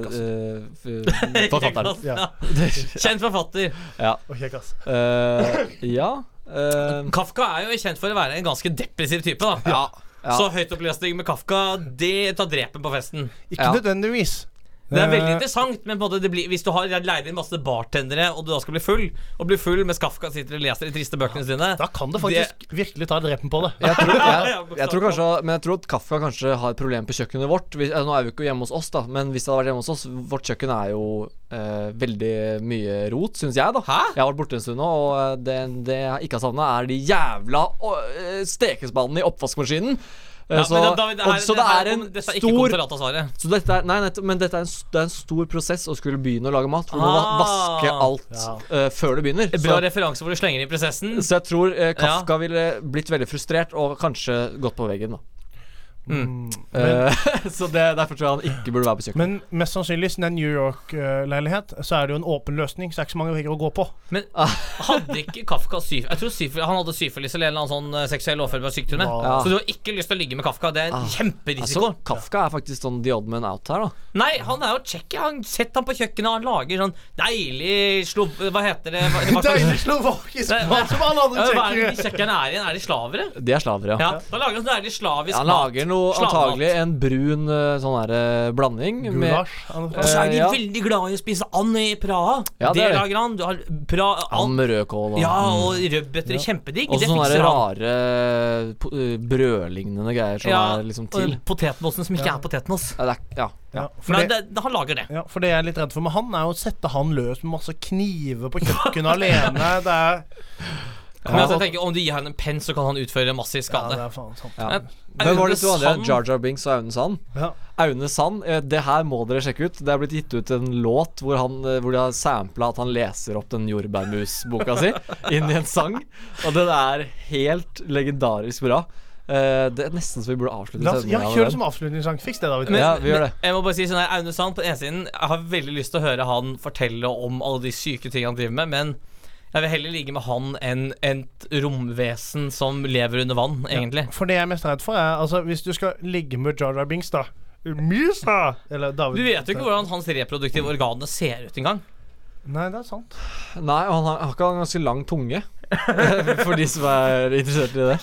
Speaker 2: eh, forfatteren.
Speaker 4: Ja.
Speaker 3: Kjent forfatter.
Speaker 4: Og kjekkas.
Speaker 2: Eh, ja. eh,
Speaker 3: Kafka er jo kjent for å være en ganske depressiv type. da
Speaker 2: ja. ja.
Speaker 3: Så høytopplesning med Kafka, det tar drepen på festen.
Speaker 4: Ikke
Speaker 2: Ja.
Speaker 4: nødvendigvis.
Speaker 3: Det er
Speaker 4: Eh,
Speaker 3: veldig interessant, men på en måte det blir, hvis du har leid inn masse bartendere, og du da skal bli full, og blir full mens Kafka sitter og leser de triste bøkene sine
Speaker 4: Da kan det faktisk virkelig ta drepen på det.
Speaker 2: Jeg tror, jeg,
Speaker 3: Ja, bokstavelig
Speaker 2: jeg tror kanskje Men jeg tror at Kafka kanskje har et problem på kjøkkenet vårt. Vi, eh, nå er vi jo ikke hjemme hos oss, da men hvis det hadde vært hjemme hos oss Vårt kjøkken er jo eh, veldig mye rot, syns jeg, da. Jeg har vært borte en stund nå, og eh, det, det jeg ikke har savna, er de jævla uh, stekespannene i oppvaskmaskinen. Eh,
Speaker 3: Ja,
Speaker 2: så,
Speaker 3: men da- David,
Speaker 2: og, så det
Speaker 3: her
Speaker 2: er en
Speaker 3: kom- Dette er ikke
Speaker 2: stor
Speaker 3: konferat av svaret.
Speaker 2: så dette er, nei, nettopp, men dette er en, s- det er en stor prosess å skulle begynne å lage mat. For du må va-
Speaker 3: Ah.
Speaker 2: vaske alt eh, før du begynner. Så,
Speaker 3: Bra referanse hvor du slenger inn prosessen.
Speaker 2: så jeg tror eh, Kafka ville blitt veldig frustrert og kanskje gått på veggen, da.
Speaker 3: Mm.
Speaker 2: Eh, så det, derfor tror jeg han ikke burde være på kjøkkenet.
Speaker 4: Men mest sannsynlig, siden det er en New York-leilighet, eh, så er det jo en åpen løsning. Så det er ikke så mange vegger å gå på.
Speaker 3: Men
Speaker 2: Ah.
Speaker 3: hadde ikke Kafka syf Jeg tror syf han hadde syfilis eller en eller annen sånn eh, seksuell overførbar sykdom. jeg.
Speaker 4: Ja.
Speaker 3: Så du har ikke lyst til å ligge med Kafka. Det er en kjemperisiko.
Speaker 2: Altså, Kafka er faktisk sånn the odd man out her, da.
Speaker 3: Nei, han er jo tsjekker. Han setter han på kjøkkenet, han lager sånn deilig slub... Hva heter det? Hva, hva,
Speaker 4: Deilig slovakisk
Speaker 3: Nei,
Speaker 4: mat som alle andre
Speaker 3: Ja, hva er det de
Speaker 4: tjekkere.
Speaker 3: tsjekkerne er igjen? Er de slavere?
Speaker 2: De er slaver, ja.
Speaker 3: Ja, Da lager han sånn deilig slavisk
Speaker 2: Han lager noe
Speaker 3: Slavemat.
Speaker 2: antagelig en brun eh, sånn her, eh, blanding med
Speaker 4: Gulasj. han-
Speaker 3: Og så er de
Speaker 2: Eh, ja.
Speaker 3: veldig glad i å spise and i Praha.
Speaker 2: Ja, det
Speaker 3: det
Speaker 2: er det.
Speaker 3: lager han. Du har bra
Speaker 2: Ham
Speaker 3: and.
Speaker 2: med rødkål og mm.
Speaker 3: Ja, og rødbeter. Kjempedigg.
Speaker 2: Og
Speaker 3: Det
Speaker 2: sånne der
Speaker 3: fikser han.
Speaker 2: rare po- eh, brødlignende greier som
Speaker 3: Ja,
Speaker 2: er liksom
Speaker 3: og
Speaker 2: til.
Speaker 3: potetmosen som ikke er potetmos.
Speaker 2: Ja, det er, ja, ja.
Speaker 4: Ja, for
Speaker 3: Nei,
Speaker 4: det-
Speaker 3: det, han lager det.
Speaker 4: ja, for det jeg er litt redd for med han, er jo å sette han løs med masse kniver på kjøkkenet alene. Det er
Speaker 3: Men altså, jeg tenker, Om du gir han en penn, så kan han utføre massiv
Speaker 4: Ja, det
Speaker 3: skade.
Speaker 4: er faen sant.
Speaker 2: Ja.
Speaker 3: Men
Speaker 2: Hvem var det to
Speaker 3: Aune
Speaker 2: andre?
Speaker 3: Sand-
Speaker 2: Jar Jar Binks og Aune Sand?
Speaker 4: Ja.
Speaker 2: Aune Sand, eh, det her må dere sjekke ut. Det er blitt gitt ut en låt hvor, han, eh, hvor de har sampla at han leser opp den jordbærmusboka si inn i en sang. Og den er helt legendarisk bra. Eh, Det er nesten så vi burde avslutte
Speaker 4: La oss, ja,
Speaker 2: sendingen med
Speaker 4: kjør
Speaker 2: den.
Speaker 4: det som avslutningssang. Fiks det, David.
Speaker 3: Men-
Speaker 2: Ja, vi gjør det.
Speaker 3: men Jeg må bare si sånn her, Aune Sand på den ene siden Jeg har veldig lyst til å høre han fortelle om alle de syke tingene han driver med, men jeg vil heller ligge med han enn enn et romvesen som lever under vann, egentlig.
Speaker 4: For det jeg er mest redd for, er altså Hvis du skal ligge med Jar Jar Binks, da Mysa! Eller David
Speaker 3: Du vet jo ikke hvordan hans reproduktive organer ser ut engang.
Speaker 4: Nei, det er sant.
Speaker 2: Nei, og han har, har ikke en ganske lang tunge. For de som er interessert i det.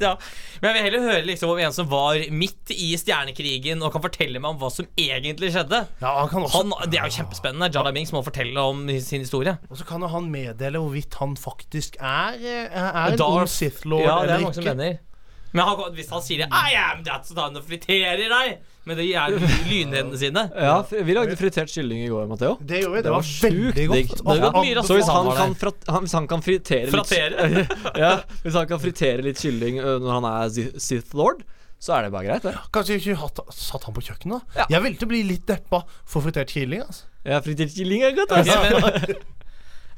Speaker 3: ja. Men jeg vil heller høre liksom om en som var midt i stjernekrigen og kan fortelle meg om hva som egentlig skjedde.
Speaker 4: Ja, han kan også
Speaker 3: Han, det er jo kjempespennende. Jada Binks må fortelle om sin historie.
Speaker 4: Og så kan jo han meddele hvorvidt han faktisk er, eh, er en
Speaker 3: Darth-
Speaker 4: ond Sith Lord
Speaker 3: Ja, det er
Speaker 4: eller
Speaker 3: mange som
Speaker 4: ikke.
Speaker 3: mener. Men han, kan- hvis han sier det, I am that, så tar han og friterer deg med de jævla lynhendene sine.
Speaker 2: Ja, fr- vi lagde fritert kylling i går, Matheo.
Speaker 4: Det gjorde vi. Det,
Speaker 2: Det var
Speaker 4: var, veldig
Speaker 2: sjukt digg.
Speaker 4: godt.
Speaker 2: Det var
Speaker 3: mye
Speaker 2: Så hvis
Speaker 3: Han
Speaker 2: han
Speaker 3: var
Speaker 2: kan, frat, han, hvis han kan fritere litt
Speaker 3: Fratere.
Speaker 2: ja, Hvis han kan fritere litt kylling ø, når han er Zi- Sith Lord, så er det bare greit, det.
Speaker 4: Kanskje vi ikke hatt, satt han på kjøkkenet, da?
Speaker 2: Ja.
Speaker 4: Jeg ville til å bli litt deppa for fritert kylling. Altså.
Speaker 2: Ja, fritert kylling er godt,
Speaker 3: Ok,
Speaker 2: altså.
Speaker 3: men,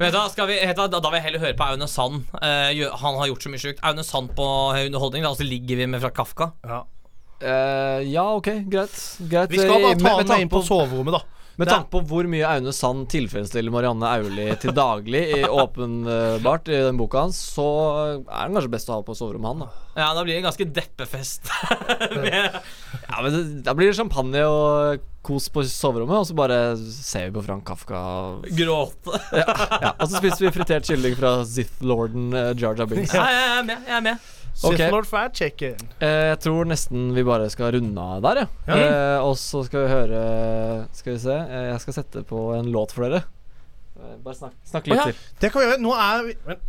Speaker 3: men vet du, hva, skal vi, vet du, hva, da, da vil jeg heller høre på Aune Sand. Eh, gjø- han har gjort så mye sjukt. Aune Sand på underholdning, da, og så ligger vi med fra Kafka.
Speaker 2: Eh, ja, ok, greit. greit. Eh,
Speaker 4: Vi skal bare
Speaker 2: Med-
Speaker 4: ta
Speaker 2: med
Speaker 4: han med
Speaker 2: tanke
Speaker 4: inn på soverommet, da.
Speaker 2: Med
Speaker 4: Det er-
Speaker 2: tanke på hvor mye Aune Sand tilfredsstiller Marianne Aulie til daglig, i, åpenbart, i den boka hans, så er den kanskje best å ha på soverommet han, da.
Speaker 3: Ja, da blir det ganske deppefest. med,
Speaker 2: Ja, men det, Da blir det champagne og kos på soverommet, og så bare ser vi på Frank Kafka.
Speaker 3: gråte.
Speaker 2: Ja, og så spiser vi fritert kylling fra Zith-lorden eh, Jar Jar Binks.
Speaker 3: Ja, jeg er med. Jeg er med.
Speaker 2: Ok.
Speaker 4: Sith Lord Fat Chicken.
Speaker 2: Eh, jeg tror nesten vi bare skal runde av der, jeg.
Speaker 4: Ja.
Speaker 2: Eh, og så skal vi høre Skal vi se. Eh, jeg skal sette på en låt for dere. Eh, bare snakk, snakk litt
Speaker 3: Å ja.
Speaker 2: til.
Speaker 4: Det kan vi gjøre. Nå er vi men,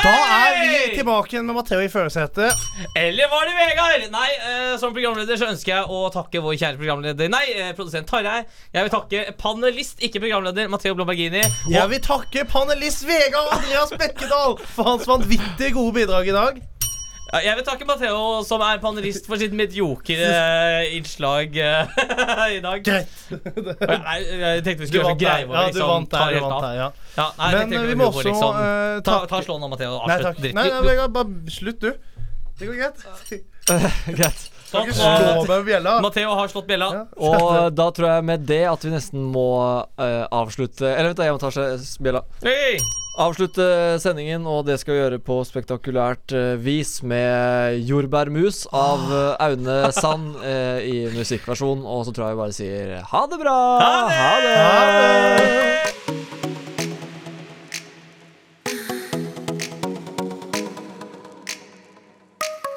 Speaker 4: Da er vi tilbake igjen med Matheo i førersetet.
Speaker 3: Eller var det Vegard? Nei, eh, som programleder så ønsker jeg å takke vår kjære programleder Nei, eh, produsent Tarjei. Jeg vil takke panelist, ikke programleder, Matteo Blombergini.
Speaker 4: Jeg vil takke panelist Vegard Andreas Bekkedal for hans vanvittig gode bidrag i dag.
Speaker 3: Ja, jeg vil takke Matteo, som er panelist, for sitt mediokre eh, innslag eh, i dag.
Speaker 4: Greit.
Speaker 3: Ja, Nei, jeg tenkte vi
Speaker 4: Du
Speaker 3: skulle være så greie. liksom,
Speaker 4: vant der. Ja, du vant der. Du vant der ja.
Speaker 3: Ja, nei, jeg
Speaker 4: Men
Speaker 3: tenkte
Speaker 4: eh,
Speaker 3: vi
Speaker 4: vi må
Speaker 3: må
Speaker 4: også
Speaker 3: liksom,
Speaker 4: eh,
Speaker 3: ta, ta
Speaker 4: takke
Speaker 3: slåen nå, Matheo.
Speaker 4: Nei,
Speaker 3: Avslutt
Speaker 4: takk.
Speaker 3: dritten.
Speaker 4: Nei, nei, Vegard, bare slutt, du. Det går greit.
Speaker 2: Greit.
Speaker 4: Kan ikke slå meg med bjella.
Speaker 3: Matheo har slått bjella.
Speaker 4: Ja.
Speaker 2: Og da tror jeg med det at vi nesten må eh, avslutte Eller vent, da, jeg må ta seg bjella.
Speaker 3: Hey!
Speaker 2: Avslutte sendingen, og det skal vi gjøre på spektakulært eh, vis med Jordbærmus av eh, Aune Sand eh, i musikkversjon. Og så tror jeg vi bare sier ha det bra!
Speaker 3: Ha det!
Speaker 2: Ha det!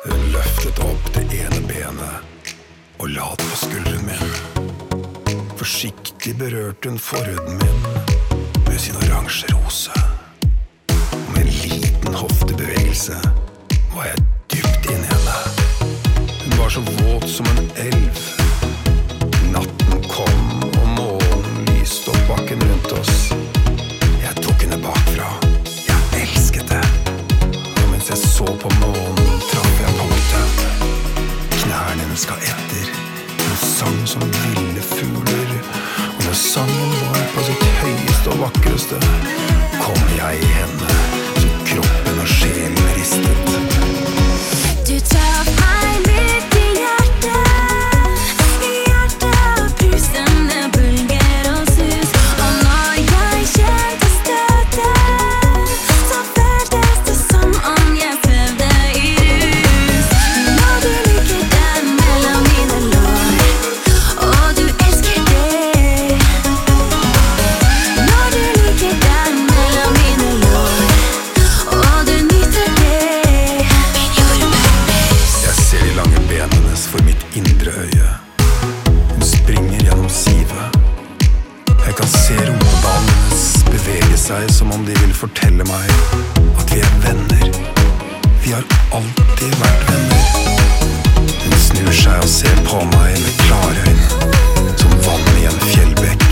Speaker 11: Hun løftet opp det ene benet og la det på skulderen min. Forsiktig berørte hun forhuden min med sin oransje rose. Og med en liten hoftebevegelse var jeg dypt inni henne. Hun var så våt som en elv. Natten kom, og månen lyste opp bakken rundt oss. Jeg tok henne bakfra. Jeg elsket det. Og mens jeg så på månen, traff jeg punktet. Knærne hennes ga etter. Hun sang som ville fugler. Og når sangen var på sitt høyeste og vakreste, kom jeg i henne, så kroppen og sjelen ristet.
Speaker 12: Du tar meg midt i hjertet, i hjertet brusende bølger og sus. Og når jeg kjente støtet, så føltes det som om jeg svevde i rus. Når du ligger der mellom mine lår, og du elsker det. Når du ligger der mellom mine lår, og du nyter det.
Speaker 11: Jeg ser de lange benene hennes for mitt indre øye. Hun springer gjennom sivet. Jeg kan se rumpeballen hennes bevege seg som om de vil fortelle meg at vi er venner. Vi har alltid vært venner. Hun snur seg og ser på meg med klare øyne, som vann i en fjellbekk.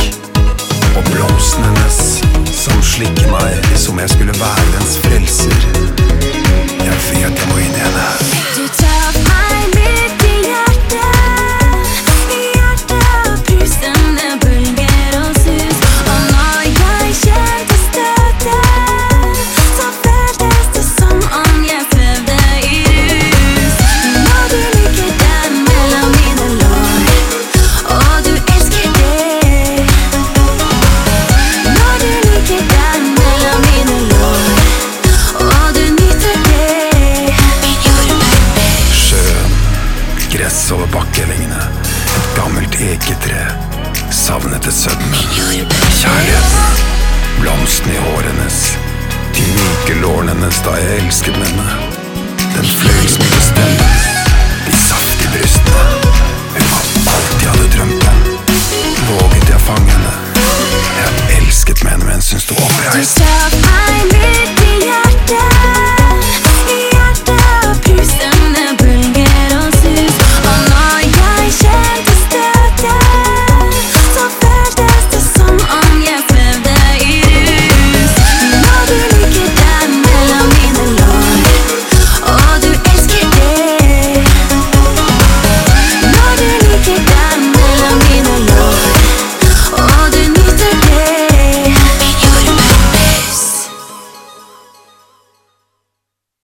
Speaker 11: Og blomsten hennes som slikker meg som jeg skulle være dens frelser. Jeg vet jeg må inn i henne.
Speaker 12: Du tar meg midt i hjertet, i hjertet brusende bølger og sus. Og når jeg kjente støtet, så føltes det som om jeg svevde i rus. Når du ligger der mellom mine lår, og du elsker det. Når du ligger der mellom mine lår, og du nyter det.
Speaker 11: Sjøen, gress over bakkevingene, et gammelt eketre, savnet til sødme. Kjærligheten, blomsten i håret hennes, de myke lårene hennes da jeg elsket henne. Den fløy i spisten, i saft i brystene. Hun var alt jeg hadde drømt om. Våget jeg fange henne? Jeg elsket med henne mens hun sto
Speaker 12: Du
Speaker 11: oppreist.
Speaker 12: traff